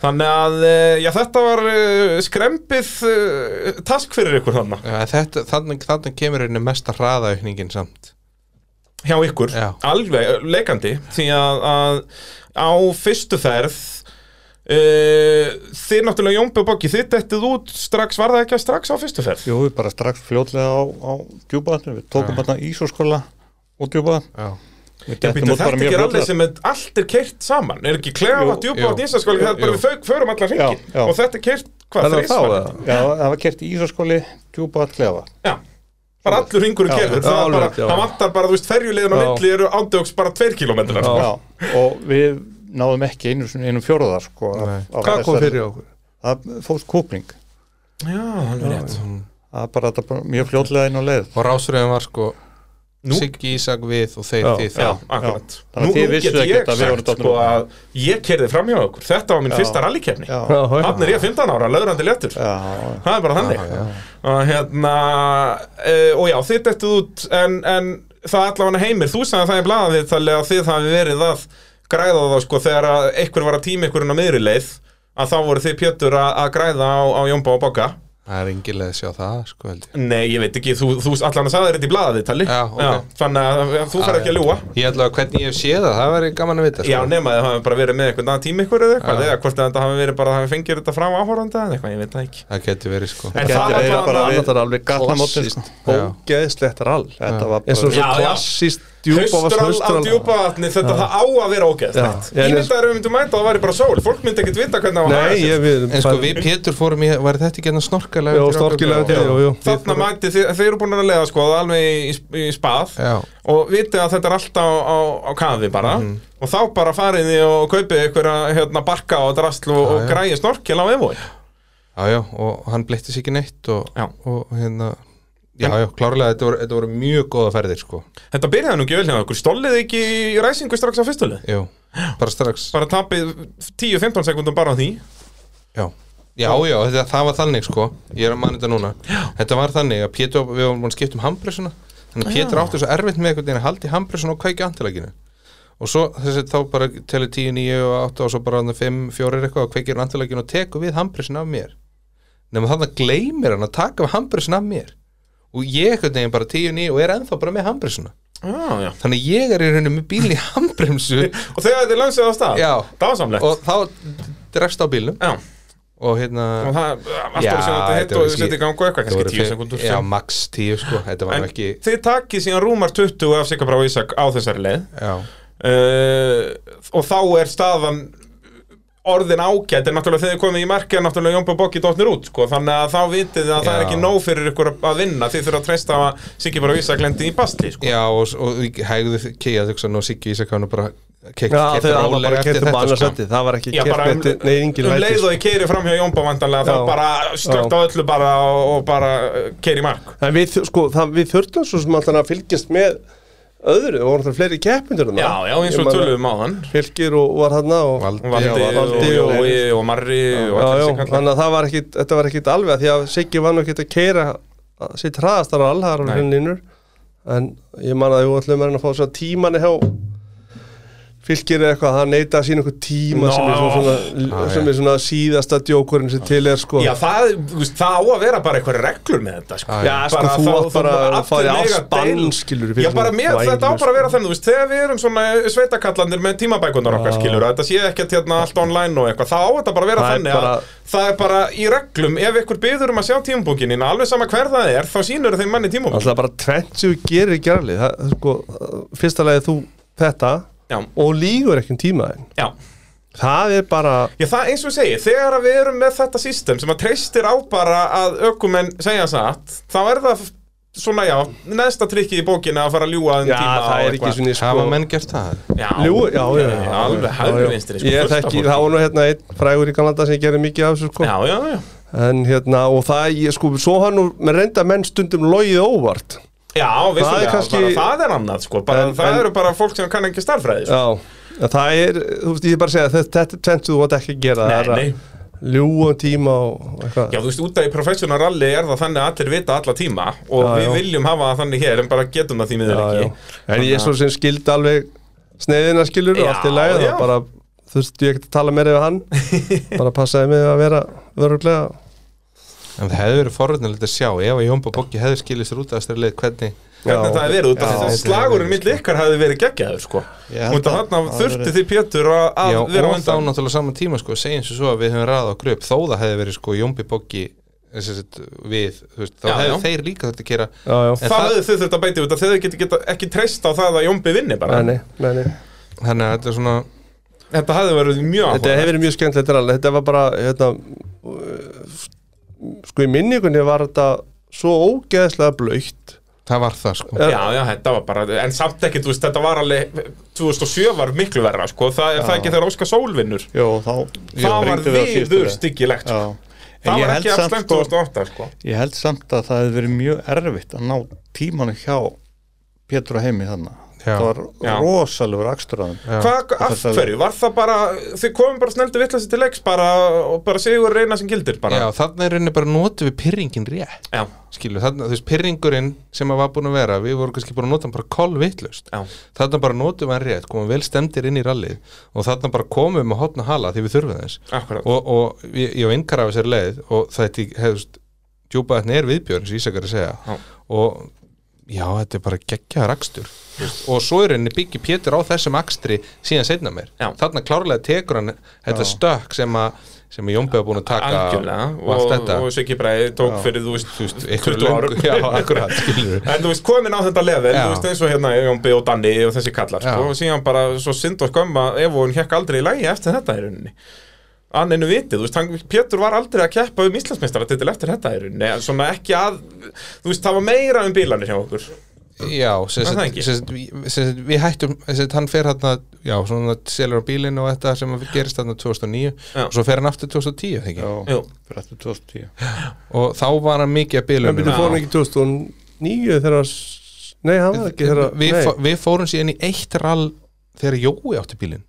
Þannig að, eh, já, þetta var eh, skrempið eh, task fyrir ykkur þarna, já, en þetta, þannig, þannig kemur í rauninni mesta hraðaukningin samt hjá ykkur, Já. alveg eh, leikandi því að, að á fyrstu ferð Uh, þið náttúrulega Jómbi og Boggi þið dettið út strax, var það ekki að strax á fyrstu ferð? Jú, við bara strax fljótlega á, á djúbaðatnum, við tókum hérna ísóskóla og djúbaðatn já Við Já, dettum býttu, út bara þetta mjög ekki er alveg fljótlega. sem er, allt er keirt saman er ekki klefa, Jú, djúpa og jú. dísaskóli það er bara Jú. við fau- förum allan Já, já. hringin og þetta er keirt, hvað, Það er þá þrísvar? eða? Já, það var kert í ísóskóli, djúbaðatn, klefa Já, bara allur ringur Já, keirður já, það, er bara, alveg, já. það vantar bara, þú veist, ferjulegin á Já. milli eru ándjóks bara tveir kilometrar Já. Já, og við náðum ekki einu, sinni- einum fjóruðar sko, af- Nei. af hvað kom þessari- fyrir okkur? Það fóðst kúpling já, alveg rétt Af það er bara, þetta er bara mjög fljótlega inn á leið og rásröðum var sko Nú- Siggi Ísak við og þeir Já, þið Já, þá akkurat Þannig að Nú, þið nú vissuð get ég ekkert að við vorum sagt dottnir sko út. að ég kerði fram hjá okkur Þetta var minn Já. fyrsta rallykefni já, já, já, Þannig er ég 15 ára, löðrandi léttur já, Það er bara þannig Og hérna uh, Og já, þið dettuð út en, en það allavega heimir Þú sagði það í blaðið talið að þið hafi verið að græða það sko þegar að einhver var að tíma einhverjum á miðri leið að þá voru þið pjöttur að, að græða á, á Jómba og Bogga það er engin leið að sjá það sko held ég Nei, ég veit ekki, þú, þú allan að sagði þetta í blaðið tali Já, ok. Þannig að þú fer Já, ekki að já. ljúga ég ætla að hvernig ég hef séð það, það væri gaman að vita sko. Já, nema að það hafi bara verið með eitthvað annan tími ykkur eða eitthvað, Já. eða hvort þetta hafi verið bara að hafi fengið þetta frá áhoranda eða eitthvað, ég veit það ekki. það geti verið sko En Gæti það verið var bara bara við- Þetta er alveg Gatnamótin, klassist sko. Ógeðslegt rall þetta var eins og bara svo Já, já. klassist djúbávast Haustral á djúpavatni, þetta það á að vera ógeðslegt. Já. Já, en Ég myndi að við myndum mæta að það væri bara sól, fólk myndi ekkert vita hvernig það var Nei, ég við en sko við Pétur fórum í, var þetta ekki hérna snorkalega Jó, storkilega til, jú, jú Þarna mæti, þið, þeir eru búin að leiða sko það alveg í, í spað Já. og vitið að þetta er allt á, á, á kafi bara og þá bara farið þið og kaupið einhverja hérna, barka og drasl og, og já. græði snorkil á evói. já, já, og hann bleitti sig ekki neitt og, Já. og hérna já, já, klárlega, þetta voru, þetta voru mjög góða ferðir sko, Þetta byrjaði nú ekki vel hérna okkur, stólið ekki í ræsingu strax á fyrstuleg? jú, bara strax bara tapið 10-15 sekundum bara á því já, já, já, þetta, það var þannig sko ég er að manna þetta núna já. þetta var þannig að Pétur, við vorum búin að skipta um handbremsuna þannig að Pétur átti svo erfitt með einhvern veginn að haldi handbremsuna og kækja antilaginu og svo þessi þá bara telur 10, 9 og 8 og svo bara þarna 5, 4 eitthvað og kveikir antilaginu og tekur við handbremsuna af mér nema þannig að gleymir hann að taka við handbremsuna af mér og ég einhvern veginn bara 10, 9 og er ennþá bara með handbremsuna ah, já. þannig að ég er í rauninu með bíl í handbremsu og þegar þið lansið á stað Já. dásamlegt og, og þá drefst á bílum já. og hérna og það allt voru sem þetta hitt og þið setja í gang og eitthvað þetta kannski voru 10 fimm- sekundur Já, max 10 sko, þetta var en nú ekki þið takkið síðan rúmar 20 af Sigga Brá Ísak á þessari leið Já, uh, og þá er staðan orðin ágætt en náttúrulega þegar þið komið í markið er náttúrulega Jónpa Bokki dótnir út sko, þannig að þá vitið þið að það er Já. ekki nóg fyrir ykkur að vinna þið þurfa að treysta á að Siggi Brá Ísak lendi í basti sko. já og, og hægðu kegjað þess að nú Siggi Ísak hann bara keikt Já, þegar hann var bara keftur bara sko. annars setti Það var ekki Já, bara um, keftur Nei, engin um læti leið og ég keiri fram hjá Jónbá vandanlega Já. þá bara slögt á öllu bara og, og bara uh, keiri í mark En við, þur- sko, það, við þurftum svo sem alltaf að fylgjast með öðru og voru það fleiri keppindur en Já, það. já, eins Ég og meina, tölum á hann Fylgir og var hann og Valdi, Valdi, já, og, Valdi og, og- og, og Marri og Já, allir já, þessi kallar þannig að það var ekkit, þetta var ekkit alveg því að Siggi var nú ekkit að keira sitt hraðastar á allhæðar Nei. og hlinnur en ég man að við ætlum að reyna að fá þess að tíman hjá fylgir eða eitthvað, það neyta að sína einhver tíma sem er Nó. svona, Já, svona, já. sem er svona síðasta djókurinn sem til er sko Já, það, þú veist, það á að vera bara eitthvað reglur með þetta sko. Já, já, sko, Bara þú þá- átt þá- bara allir að fara í mega afspann, deila. um skilur, fyrir Já, bara svona sko. mér, þetta á þvælulaust. bara að vera þannig, þú veist, þegar við erum svona sveitakallandir með tímabækunar okkar skilur Þetta sé ekkert hérna allt online og eitthvað, þá á þetta bara að vera Það er þannig bara- að það er bara í reglum Ef ykkur byður um að sjá tímabókinina, alveg sama hver það er, þá sýnur þeim manni tímabókin alltaf bara tvent sem þú gerir í gerli það, það, sko, fyrsta lagi þú þetta Já, og lígur ekki um tímaðin já það er bara Já, það eins og ég segi, þegar að við erum með þetta system sem að treystir á bara að ökumenn segja satt, þá er það svona, já, neðsta trikki í bókinu að fara að ljúga um já, tíma og það er ekki eitthvað. svona Hafa sko, menn gert það? Já, Ljú, já, já, já, alveg hægri vinstri, sko, ég fullt af þekki, fólki. það var nú hérna einn frægur í Kanada sem gerir mikið af þessu sko Já, já, já en hérna, og það, ég sko, svo hann nú með reynda menn stundum logið óvart Já, vissulega, það er, kannski- bara, það er annað, sko, bara, En- það en- eru bara fólk sem kann ekki starffræði, sko. já, en það er, þú veist, ég er bara að segja þetta, þetta er tvent sem þú átt ekki að gera það Nei, er nei, að ljúga um tíma og og eitthvað já, þú veist, út af í professional rally er það þannig að allir vita alla tíma og Já, við já. viljum hafa það þannig hér, en bara getum það því miður Já, ekki. já. En ég svo sem skildi alveg sneiðina skilur og Já, allt í lagi já. þá bara þurfti ég ekki að tala meira við hann bara passaði mig að vera vöruglega En það hefði verið forröðnilegt að sjá ef að Jómba Bokki hefði skilist þér út af þessari leið hvernig hvernig það hefði verið út af Já. þess að slagurinn mill sko. ykkar hefði verið geggjaður sko Ég held út af að- þarna það þurfti verið- þið Pétur að, að Já, vera á og þá undan náttúrulega saman tíma sko, segjum svo svo að við höfum ræða á gröp þó það hefði verið sko Jómbi Bokki sett, eh, við, þú veist, þá Já, hefði já. þeir líka þurft að gera Já, já, þá En það- hefði þið þurft að beita út af þið geti geta ekki treyst á það að Jómbi vinni bara nei, nei, nei þannig að þetta er svona þetta hefði verið mjög Þetta áhuga hefur verið mjög skemmtilegt rally Þetta var bara, hérna uh, sko í minningunni var þetta svo ógeðslega blöytt það var það sko Já, já, þetta var bara, en samt ekki, þú veist, þetta var alveg 2007 var miklu verra, sko, það er það ekki þegar Óskar Sólvinnur Jó, þá það var springdu við á síðustu leið. viður styggilegt, sko Já, Það ég var held ekki samt, afslæmt sko- 2008 sko. Ég held samt að það hefði verið mjög erfitt að ná tímanu hjá Pétur og heimi þannig. Já. Það var Já. rosalegur aksturaðum. Já. Hvað, af Þetta- hverju? Var það bara, þið komum bara sneldi vittlasi til leiks bara og bara sigur reyna sem gildir bara Já, þannig er henni bara notum við pyrringin rétt Já, skilu, þannig, þú veist, pyrringurinn sem að var búin að vera, við vorum kannski búin að nota hann bara kolvittlust, já, þannig bara notum við hann rétt komum vel stemdir inn í rallið og þannig bara komum við með hotn og hala því við þurfum þess akkurat og, og ég, ég vinkar af þessari leið og þetta hefðust djúpaðatni er viðbjörn sem Ísakar er að segja Já. og já, þetta er bara geggjaðar akstur þú veist, og svo er henni byggi Pétur á þessum akstri síðan seinna meir Já. þarna klárlega tekur hann þetta stökk sem að sem að Jónbjörn búin að taka Algjörlega og allt og, þetta og Siggi Bræði tók fyrir, þú Þú veist, veist, einhverju 20 árum löngu- já, akkurat, skilur við. En þú veist, komin á þetta level, Já. þú veist, eins og hérna Jón B. og Danni og þessi kallar, Já. sko, og síðan bara svo synd og skömm að ef hún hekk aldrei í lægi eftir þetta í rauninni. Anninu vitið, þú veist, hann, Pétur var aldrei að keppa um Íslandsmeistaratitil eftir þetta í rauninni, en svona ekki að, þú veist, það var meira um bílanir hjá okkur. Já, sem Er það sagt, ekki? sem sagt, við- sem sagt, við hættum sem sagt, hann fer hérna, já, svona selur á bílinn og þetta sem gerist hérna 2009 Já. og svo fer hann aftur 2010 þekki. Já, Jú. fyrir eftir 2010. og þá var hann mikið að um bílum En byrju, fór hann ekki 2009 þegar hann s- Nei, hann var ekki þegar við, fó, Nei, við fórum síðan í eitt rall þegar Jói átti bílinn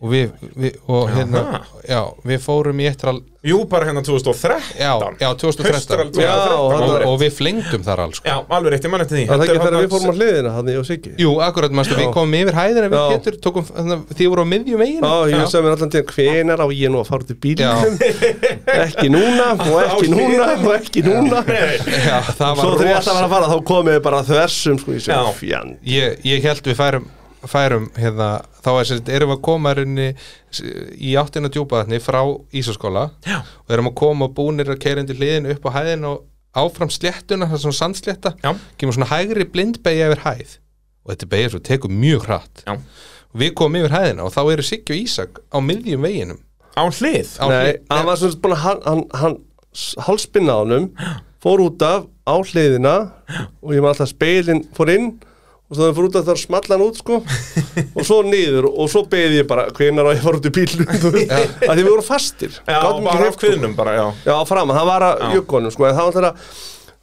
og við, við og hérna, já, við fórum í eitt rall Jú, bara hérna 2013. já, já, Haustral 2013 2013. og, alveg rétt. og við flengdum þar all sko. Já, alveg rétt, ég mann eftir því. var það Þetta er ekki þegar þarna- við fórum á hliðina hann ég og Siggi Jú, akkurat, manstu, við Já. komum yfir hæðina við Já. getur, tókum, þannig að þið voru á miðjum veginu Já, ég sagði mér allan tíðan hvenar á ég nú að fara út í bílum Ekki núna og ekki Á núna hliðina. og ekki núna já, það var Svo þegar ég rosa- ætla að vera að fara þá komið þið bara þversum sko, ég Já. segi, fjan ég, ég held við færum, færum hérna, þá er, sem sagt, erum við að koma raunni, í áttina djúpaðatni frá Ísaskóla Já. og erum að koma búnir að keira undir hliðin upp á hæðin og áfram sléttuna, það er svona sandslétta Já. kemur svona hægri blindbeigja yfir hæð og þetta beigja svo tekur mjög hratt Já. við komum yfir hæðina og þá eru Siggi og Ísak á miðjum veginum Á hlið. á Nei, hlið- hann var svona búin að hann, hann, hann s- hálspinna á honum fór út af á hliðina og ég maður alltaf speilin fór inn og svo þegar hann fór út af þar small hann út sko og svo niður og svo beði ég bara hvenar á ég fór út í bílu að því við vorum fastir Já, gátum ekki sko. bara hreyft af okkur. kviðnum bara, já. Já, fram, hann var að Já. jökkunum sko, en það var þeirra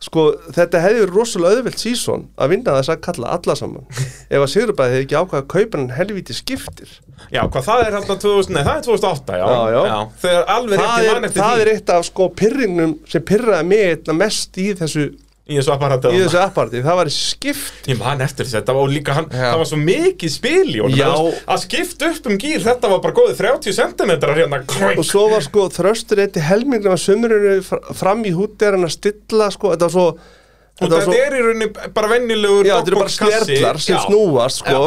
sko, þetta hefði verið rosalega auðvelt sísón að vinna þess að kalla alla saman ef að Sigurbæði hefði ekki ákvað að kaupa hann helvíti skiptir Já, hvað það er hérna 2000, nei það er 2008, já, Já, já. Þegar alveg það rétti mann er, eftir það því er eitt af sko pyrringnum sem pyrraði mig einna mest í þessu, í þessu apparatu í þessu apparati það var skipt Ég man eftir þessu, þetta var líka hann, Já. það var svo mikið spil í honum Já. það var- Að skipta upp um gýr, þetta var bara góðið 30 cm hérna og kring. svo var sko þröstur eitt í helmingum að sömurinu fram í hút er hann að stilla sko, þetta var svo Og þetta er í rauninni bara vennilegur já, þetta eru bara dogbox-kassi. snertlar sem Já. snúast sko,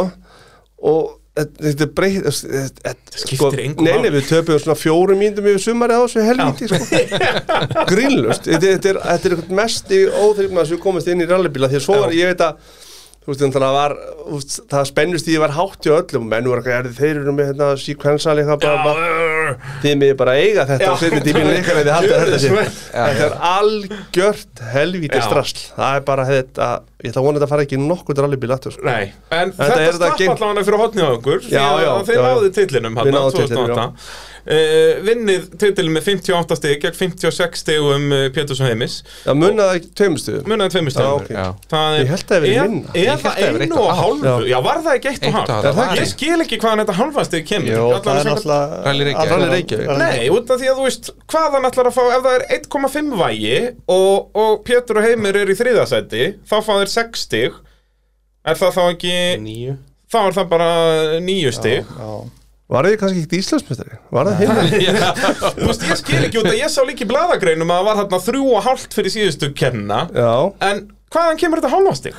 og þetta- þetta er breytt þetta- þetta- sko, Skiptir engu nei, nei, máli. við töpum svona fjórum mínutum yfir sumari á þessu sko. helviti sko. grínlust, þetta, þetta er, þetta er eitthvað mest í óþrifna sem við komist inn í rallybíla því að svo var, Já. ég veit að þú veist, þannig að það var, þú veist, það spennust því ég var hátt í öllum, menn voru eitthvað, "Heyrðu, þeir eru með hérna, sequensal eitthvað, bara, bara, Já, þið með bara eiga þetta Já. og setja tíminn ykkar eða haldið að þetta sé Gjörðu þetta er algjört helvítið Já. strasl það er bara þetta, ég ætla að vona þetta fara ekki í nokkuð rallybíl aftur sko. Nei, en Þetta þetta, er þetta þetta slapp geng- allavega fyrir hotnið á okkur því Já, að já, þeir já, já. náðu titlinum Við hann náðum titlinum, 2008 uh, Vinnið titlin með 58 stig gegn 56 stigum uh, Péturs og Heimis það munnaði ekki tveimstuðum Munaði tveimur Já, ok. stöðum Já. Það er, Ég held það hafi verið minna. Eða Ég held það hafi það einu verið eitt og og hálft. hálfu Já, var það ekki eitt Eitt og og hálft. Er það hálfu ekki? Ég skil ekki hvaðan þetta hálfastið kemur Jó, Allan það er sem- náttúrulega... Rally Reykjavík. Rally Rally Reykjavík. Nei, út af því að þú veist hvaðan ætlar að fá ef það er 1,5 vægi og, og Pétur og Heimir er í þriðasæti þá fá þeir 6 stig er það þá ekki níu þá er það bara 9 stig Já, var þið kannski ekkert Íslandsmyndari var það hérna? hinn Já. Þú veist, ég skil ekki út að ég sá líka í bladagreinum að það var þarna 3,5 fyrir síðustu kenna já, en hvaðan kemur þetta hálfastig?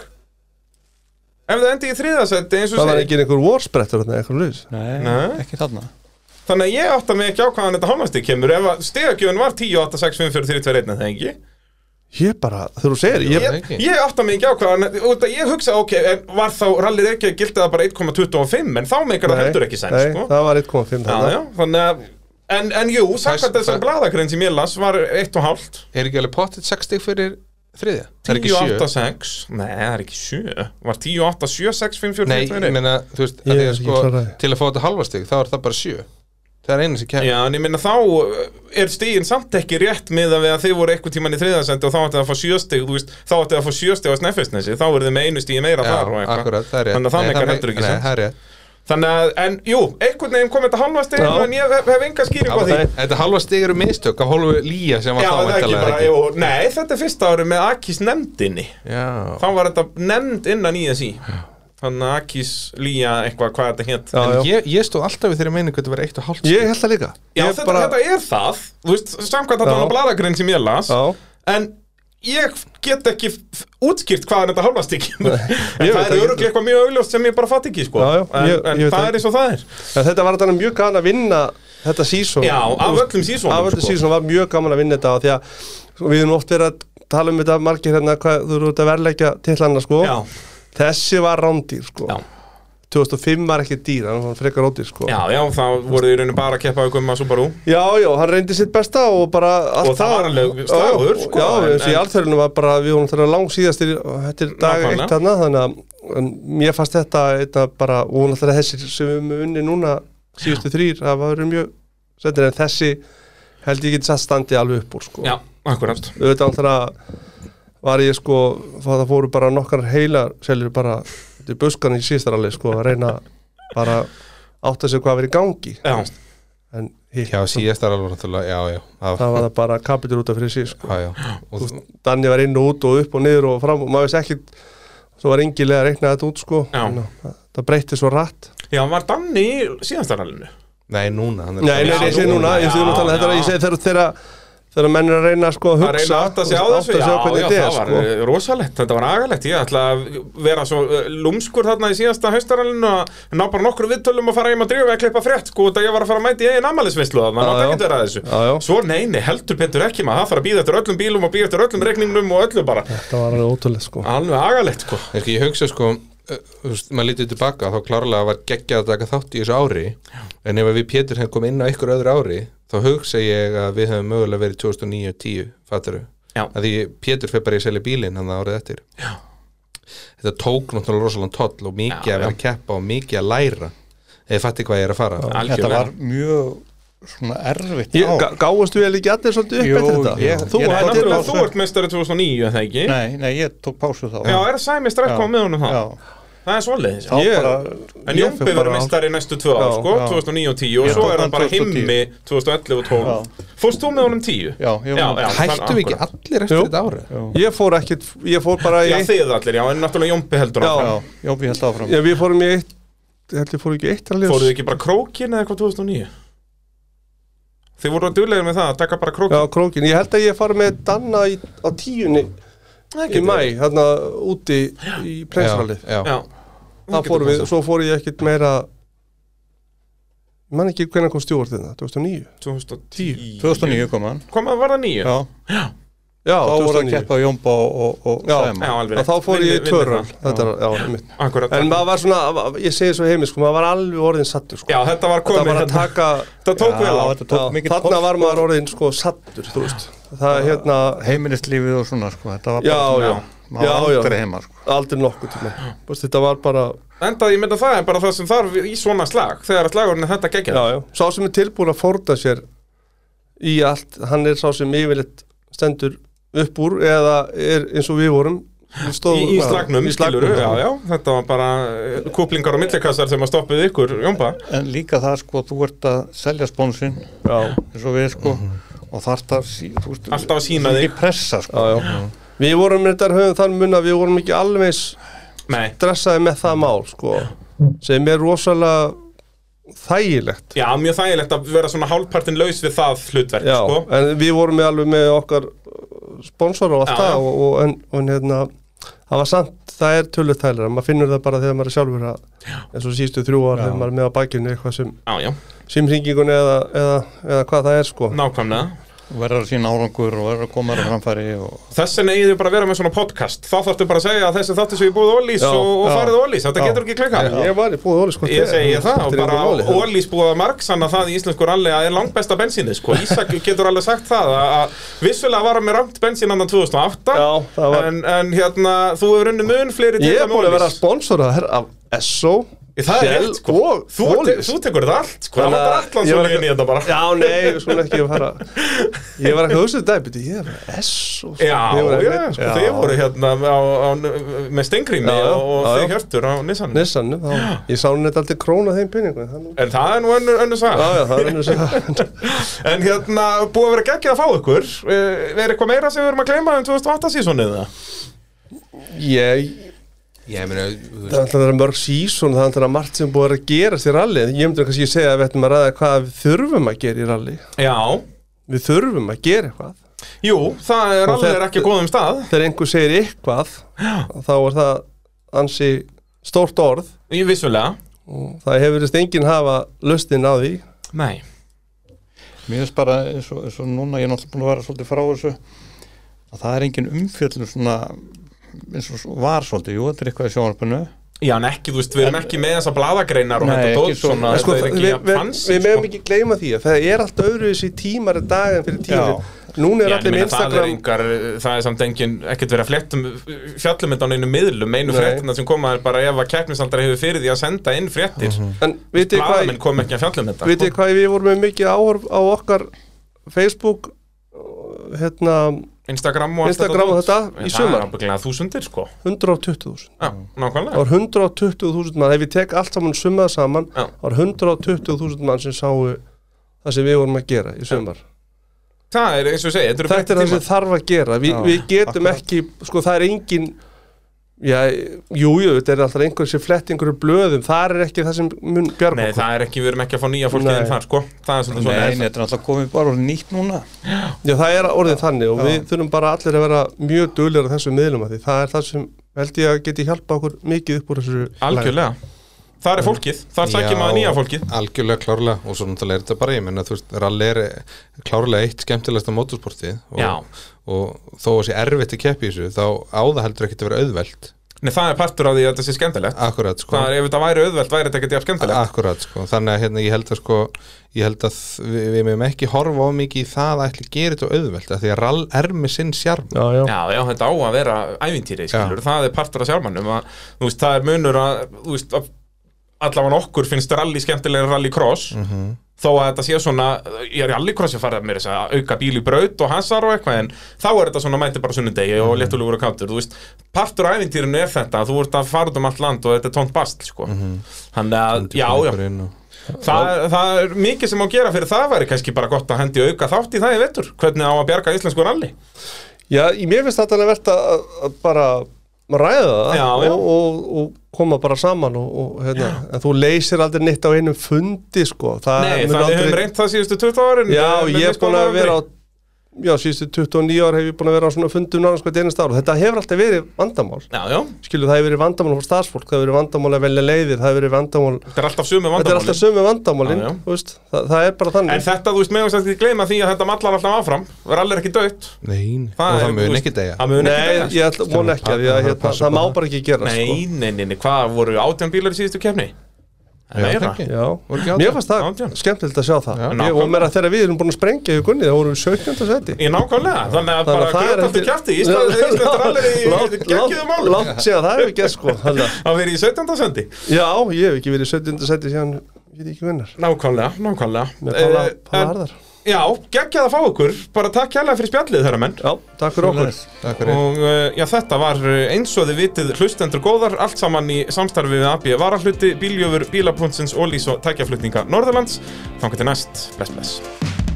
Ef það endi í þriðasæti eins og það var segir- ekki einhver warsprettur eða eitthvað laus nei, Nei. ekki þarna. Þannig að ég átta mig ekki á hvaðan þetta hálfastig kemur ef að stegagjöfun var 10, 8, 6, 5, 4, 3, 2, 1 en það ekki ég bara, þegar þú segir ég, Já. ég, ekki. ég átta mig ekki á hvaðan út að ég hugsa, ok, en var þá rallið ekki að gildi það bara 1,25 en þá meikar það nei, heldur ekki sens, nei, sko það var 1,5 Já, þarna. já, þannig að En, en jú, Þess- samkvæmt þessar það- bladagrein sem ég las var 1,5 er ekki alveg pottet 60 fyrir þriðja það 10, er ekki 8, 7 6 Nei, það er ekki 7 Var 10, 8, 7, 6, 5, 4, Nei, 5, 2, ég meina, þú veist, Ég- að því að ég sko, kláraði. til að fá þetta halvastig þá er það bara 7 það er eina sem kemur Já, en ég minna þá eh, er stígin samt ekki rétt með að við að þið voru eitthvað tíman í þriðasendi og þá ætti það að fá sjöstig, þú veist, þá ætti það að fá sjöstig á Snæfellsnesi, þá eru þið með einu stígi meira þar og eitthvað. akkurat, það er rétt Þannig að það Nei, meikar me- heldur ekki nei, sens. það er rétt. Þannig að, en jú, einhvern veginn kom þetta halva stig, Já. en ég hef, hef enga skýring á því. Nei. Þetta halva stig eru mistök af hálfu lýja sem var Já, þá það er ekki væntanlega, bara, jú, nei, þetta er fyrsta ári með Akis nefndinni. Já, Þá var þetta nefnd innan í þessi. Þannig að Akis lýja eitthvað, hvað þetta hétt. Já, já. en ég, ég stóð alltaf við þeirri meiningu að þetta var eitt og hálft Ég held það líka Já, Ég þetta, bara- þetta er hérna það, þú veist, samkvæmt þetta Já. var bladagrein sem ég las. Já. En ég get ekki f- útskýrt hvaðan þetta hálfast ekki En ég það veit er ekki. öruglega eitthvað mjög augljóst sem ég bara fatt ekki sko. Já, já, En, ég- en ég veit það það. er eins og það er En þetta var þannig mjög gaman að vinna þetta sísón Já, af öllum seasonum, Af öllum sko. sko. var mjög gaman að vinna þetta og því að sko, við erum oft verið að tala um þetta margir hérna hvað þú eru út að verleggja til hana sko Já, Þessi var rándýr sko Já. 2005 var ekki dýr, hann var frekar rándýr sko já, já þá voru þið raunin bara að keppa aukum að Subaru já, já, hann reyndi sitt besta og bara allt Og það var alveg slagur, Já, sko, Já, en- eins og í en- alþjörunum var bara við vorum þeirra lang síðast og þetta er dag Nákvæmlega. eitt hana þannig að en mér fannst þetta, þetta bara, og náttúrulega þessir sem við höfum unni núna síðustu þrýr, það var mjög sættir en þessi held ég geti satt standi alveg upp úr sko. Já, akkurat auðvitað náttúrulega var ég sko, það fóru bara nokkar heilar seljur bara til buskan í síðstaralli sko að reyna bara að átta sig hvað verið í gangi Já, en hitt, Já, síðast er alveg náttúrulega, já, já, af, það var það bara kapitur út af fyrir síð sko. já, já. Og, þú- Danni var inn og út og upp og niður og fram og maður veist ekkit svo var engilega að reikna þetta út sko Já. Ná, það, það breytti svo rætt já var Danni í síðanstæralinu Nei, núna hann er- Nei, nei, nei, ég segi núna, ég segi Já, núna talað þetta er að ég já. segi þegar, þegar, þegar menn er að reyna sko að Það reyna hugsa að átta sig á og þessu Já, átta sig á já, hvernig það þetta var er sko eh, rosalegt, þetta var agalegt Ég ætla að vera svo eh, lúmskur þarna í síðasta haustaralinu að ná bara nokkur viðtölum að fara heim að drífa að klippa frétt sko, þetta ég var að fara að mæta í eigin ammælisvinslu þarna, Já, nátt já. ekki vera að þessu Já, já. Svo neini, heldur Petur ekki maður, það fara að býða eftir öllum bílum og býða eftir öllum regningnum og öllu bara Þetta var alveg ótrúlega sko Alveg agalegt sko Ég, sko, ég hugsa sko eh, þú veist, maður lítið tilbaka þá klárlega var geggjað að taka þátt í þessu ári en ef að við Pétur hefum komið inn á einhver öðru ári þá hugsa ég að við hefum mögulega verið 2009-10 fattaru Já. að því Pétur fyrir bara í að selja bílinn hann árið eftir Já. þetta tók náttúrulega rosalega toll og mikið Já, að vera já. að keppa og mikið að læra eða fatti hvað ég er að fara Algjörlega. Þetta var mjög svona erfitt Ég- ár. gá- Gáðust við ekki allir svolítið upp Jú, eftir þetta? ég- þú ég- En Þetta er náttúrulega rosa- þú ert meistari 2009 er það ekki Nei, nei, ég tók pásu þá Já, er Sæmi strax komið með honum það Já, Það er svoleiðis þá Ég- bara En ég fer Jómpi var bara á- meistari næstu tvö ár Já, sko, já. 2009 og 10 og Ég svo tók er hann hann bara 2010. himmi 2011 og 12 Fórst þú með honum 10? Já, ég var með- hættu við ekki akkurat. allir eftir Jú. þetta ári Ég fór ekkit, ég fór bara í Já, eitt þið allir, já, en náttúrulega Jómpi heldur Já. áfram Já, Jóbi held áfram Já, við fórum í eitt Ég held ég fór ekki í eitt alveg Fóruð þið ekki bara krókin eða eitthvað 2009? Þið voru að duðlega með það, að taka bara Já, krókin krókin Ég held að ég fór með Danna í, á tíunni í mæ Þarna úti í prensalið já, já. Já Það fórum við, svo fór ég ekkit meira Ég man ekki hvernig kom stjórn hérna, þetta 2009 2010 2009 kom hann Kom að var það 9? Já, Já, þá voru að 2009 keppa Jómba og, og, Já. og Sæma Já, alveg Og þá fór ég í tvöröl Þetta er, já, einmitt. Akkurat En maður var svona, ég segi svo heimi sko, maður var alveg orðin sattur sko Já, þetta var Þetta komið var að hérna. taka Þetta tók Já, vel á þetta tók mikið Þarna var maður orðin sko sattur, þú veist Það er hérna, heimilislífið og svona sko þetta var já, bara já, maður var já, aldrei já heima sko Aldrei nokkuð tíma Vist, Þetta var bara, Enda ég mynda það er bara það sem þarf í svona slag Þegar að slagurinn er þetta já, geggjað já Sá sem er tilbúin að fórna sér í allt Hann er sá sem yfirleitt stendur upp úr Eða er eins og við vorum Við Í, stóðum í bara- slagnum, í skilur slagnum, já, já, þetta var bara eh, kúplingar og millikassar sem að stoppuð ykkur, Jómba en líka það sko þú ert að selja spónsinn já, eins og við sko Mhm. og þarft að sí- þú veist Alltaf að sína mikið þig. pressa sko já, já. Við vorum þetta höfum þann mun að við vorum ekki alveg eins Nei, stressaði með það mál sko, sem er rosalega þægilegt já, mjög þægilegt að vera svona hálfpartin laus við það hlutverk, já, sko en við vorum með alveg með okkar uh, sponsor Já, og allt það já. og, og, en, og hérna, það var samt það er tölvöld þægilega, maður finnur það bara þegar maður er sjálfur að, eins og sístu þrjú ár þegar maður er með á bakinu eitthvað sem Já, já, símringingun eða, eða, eða hvað það er sko nákvæmlega Þú verður að sína árangur og verður að koma þér á framfæri og Þess vegna eigið þið bara að vera með svona podcast Þá þarftu bara að segja að þessi þáttu sem ég búið Ólís Já, og, og já. farið Ólís, þetta getur ekki klikkað ég var í búið óli sko Ég segi það og bara óli Ólís búið að marksanna það í íslensku ralli að er langbesta bensínið sko. Ísak getur alveg sagt það að, að vissulega var hann með ramt bensín andan 2008 Já, það var- en, en hérna þú hefur unni mun fleiri Ég er titla með búin að vera Ólís. sponsor af SO Það er Shell rétt, sko. og Þú, te, Wallis. þú tekur þetta allt, sko. Það Þannig var að- allan ég svo liðin var í eitthvað- þetta bara. Já, nei, við skulum ekki fara Ég var ekki að hugsa um þetta, beti, ég er bara S og svona. Já, Ég var já, eitthvað- sko, þið voru hérna á, á, með stengrími Já, já, og já, þið já. hjörtur á Nissan. Nissan, þá, ég sá henni þetta aldrei króna þeim penningu en það nú- En það er nú önnur, önnur Já, sag. já, það er henni að segja En hérna, búið að vera geggjað að fá ykkur. Eh, Er eitthvað meira sem við erum að gleyma um 2008 sísonið það? Ég, Ég meina, þú það er alltaf að vera mörg sísón það er alltaf margt sem búið að vera að gera sér rally en ég myndi kannski að segja að við ættum að ræða hvað við þurfum að gera í rally Já. Við þurfum að gera eitthvað Jú, það er Og allir þetta- ekki á góðum stað. Þegar einhver segir eitthvað þá er það ansi stórt orð Í vissulega. og það hefur veist enginn hafa lustin á því Nei. Mér finnst bara eins og, eins og núna, ég er náttúrulega búin að vera svolítið frá þessu að það er engin umfjöllum svona eins og svo- var svolítið, jú, þetta er eitthvað í sjónarpinu Já, en ekki, þú veist, við erum ekki með þessa bladagreinar og Nei, þetta ekki dót svona. svona, En sko, þetta er ekki við, sko. við, að fancy, við meðum ekki gleyma því að það er allt öðruvísi tímar í dag en fyrir tímar núna er Já, en allir með meina, það er Instagram engar, það er samt engin ekkert verið að fléttum fjallum þetta á neinu miðlum, einu Nei. fréttina sem koma er bara ef að keppnisaldar hefur fyrir því að senda inn fréttir mm en vitið þið hvað, blaðamenn kom ekki að fjallum þetta vitið þið hvað við vorum með mikið áhorf á okkar Facebook uh, hérna Instagram og allt Instagram og dót. þetta En það í sumar. er ábygglega þúsundir sko Já, 120.000 það nákvæmlega var 120.000 mann ef ég tek allt saman summað saman Já. það var 120.000 mann sem sáu það sem við vorum að gera í sumar Það er eins og ég segi, þetta eru þetta er það breyttir sem þarf að gera Vi, Já, við getum akkurat. ekki, sko það er engin já, jú, jú, þetta er alltaf einhver sem flett einhverju blöðum, það er ekki það sem mun bjarga Nei, okkur. það er ekki, við erum ekki að fá nýja fólkið Nei. en þar sko Það er Nei, svolítið svona nei, þetta er alltaf komið bara orðið nýtt núna já, það er orðið þannig og Já. við þurfum bara allir að vera mjög duglegar á þessum miðlum að því, það er það sem held ég að geti hjálpa okkur mikið upp úr þessu Algjörlega Þar er fólkið, þar Já, sækir maður nýja fólkið algjörlega klárlega og svo náttúrulega er þetta bara ég menna þú veist, rally er eh, klárlega eitt skemmtilegasta mótorsportið Já. og, og þó að sé erfitt að keppi þessu þá á það heldur ekki að vera auðvelt Nei, það er partur af því að þetta sé skemmtilegt akkurat sko Það er, ef þetta væri auðvelt, væri þetta ekki jafn skemmtilegt Akkurat, sko, þannig að hérna, ég held að sko, ég held að við, við meðum ekki horfa á mikið í það að ætli gera þetta auðvelt af því að rall er með sinn sjarm já, já. Já, já, þetta á að vera ævintýri, skilur, það er partur af sjálfmannum að, þú veist, það er munur að, þú veist, að allavega okkur finnst rally skemmtilega rallycross þó að þetta sé svona, ég er í rallycross ég farið að mér þess að auka bíl í braut og hansar og eitthvað en þá er þetta svona mæti bara á sunnudegi og léttulegur og kátur, þú veist, partur af ævintýrinu er þetta, þú ert að fara út um allt land og þetta er tónt bast, sko þannig að, já, já, já það, það er mikið sem á að gera fyrir það væri kannski bara gott að hendi auka þátt í það í vettur, hvernig á að bjarga íslensku rally já, í mér finnst þetta alveg verðt að, að bara ræða það Já, já. Og, og, og koma bara saman og, og hérna, en þú leysir aldrei neitt á einum fundi sko, það Nei, það mun við höfum aldrei- reynt það síðustu 20 árin Já, eh, ég með hef búin að misgóðum vera á árangri. Já, síðustu 29 ár hef ég búin að vera á svona fundum nánast hvað einast ára. Þetta hefur alltaf verið vandamál. Já, já, Skilju, það hefur verið vandamál frá starfsfólk, það hefur verið vandamál að velja leiðir, það hefur verið vandamál... þetta er alltaf sömu Þetta er vandamálin alltaf sömu vandamálin, Já, já. þú veist, það, það er bara En þannig. þetta, þú veist, meðan sem ekki gleyma því að þetta mallar alltaf áfram Það er allir ekki dött Nein, og það mun ekki degja Það mun ekki Nei, degja ég ætla, von ekki að, því að Passa- hérna, passa það má bara. bara ekki sko. gera, Nei, nei, nei, nei, hvað voru átján bílar í síðustu kefni? Meira sko. Já, Voru ekki átján? mér fannst Átján. það skemmtilegt að sjá það. Já, Ég, og mér að þegar við erum búin að sprengja í gunni, það vorum við 17. seti. Ég nákvæmlega, þannig að Þannig bara að það er grjótaltu eftir- kjafti Ísland er allir í geggjum Látt málum látt sé að það hefur gert sko. þannig að- Það verið í 17. sendi Já, ég hef ekki verið í 17. seti síðan, ég veit ekki vinnar. Nákvæmlega, nákvæmlega Með Palla, Eh, Palla en- Harðar Já, geggjað að fá okkur Bara takk kærlega fyrir spjallið þeirra menn Já, takk fyrir okkur Takk fyrir. Og uh, já, þetta var uh, eins og þið vitið hlustendur góðar, allt saman í samstarfi við AB Varahluti, Bíljöfur, Bílapuntsins, Ólís og tækjaflutninga Norðurlands. Þannig til næst, bless bless.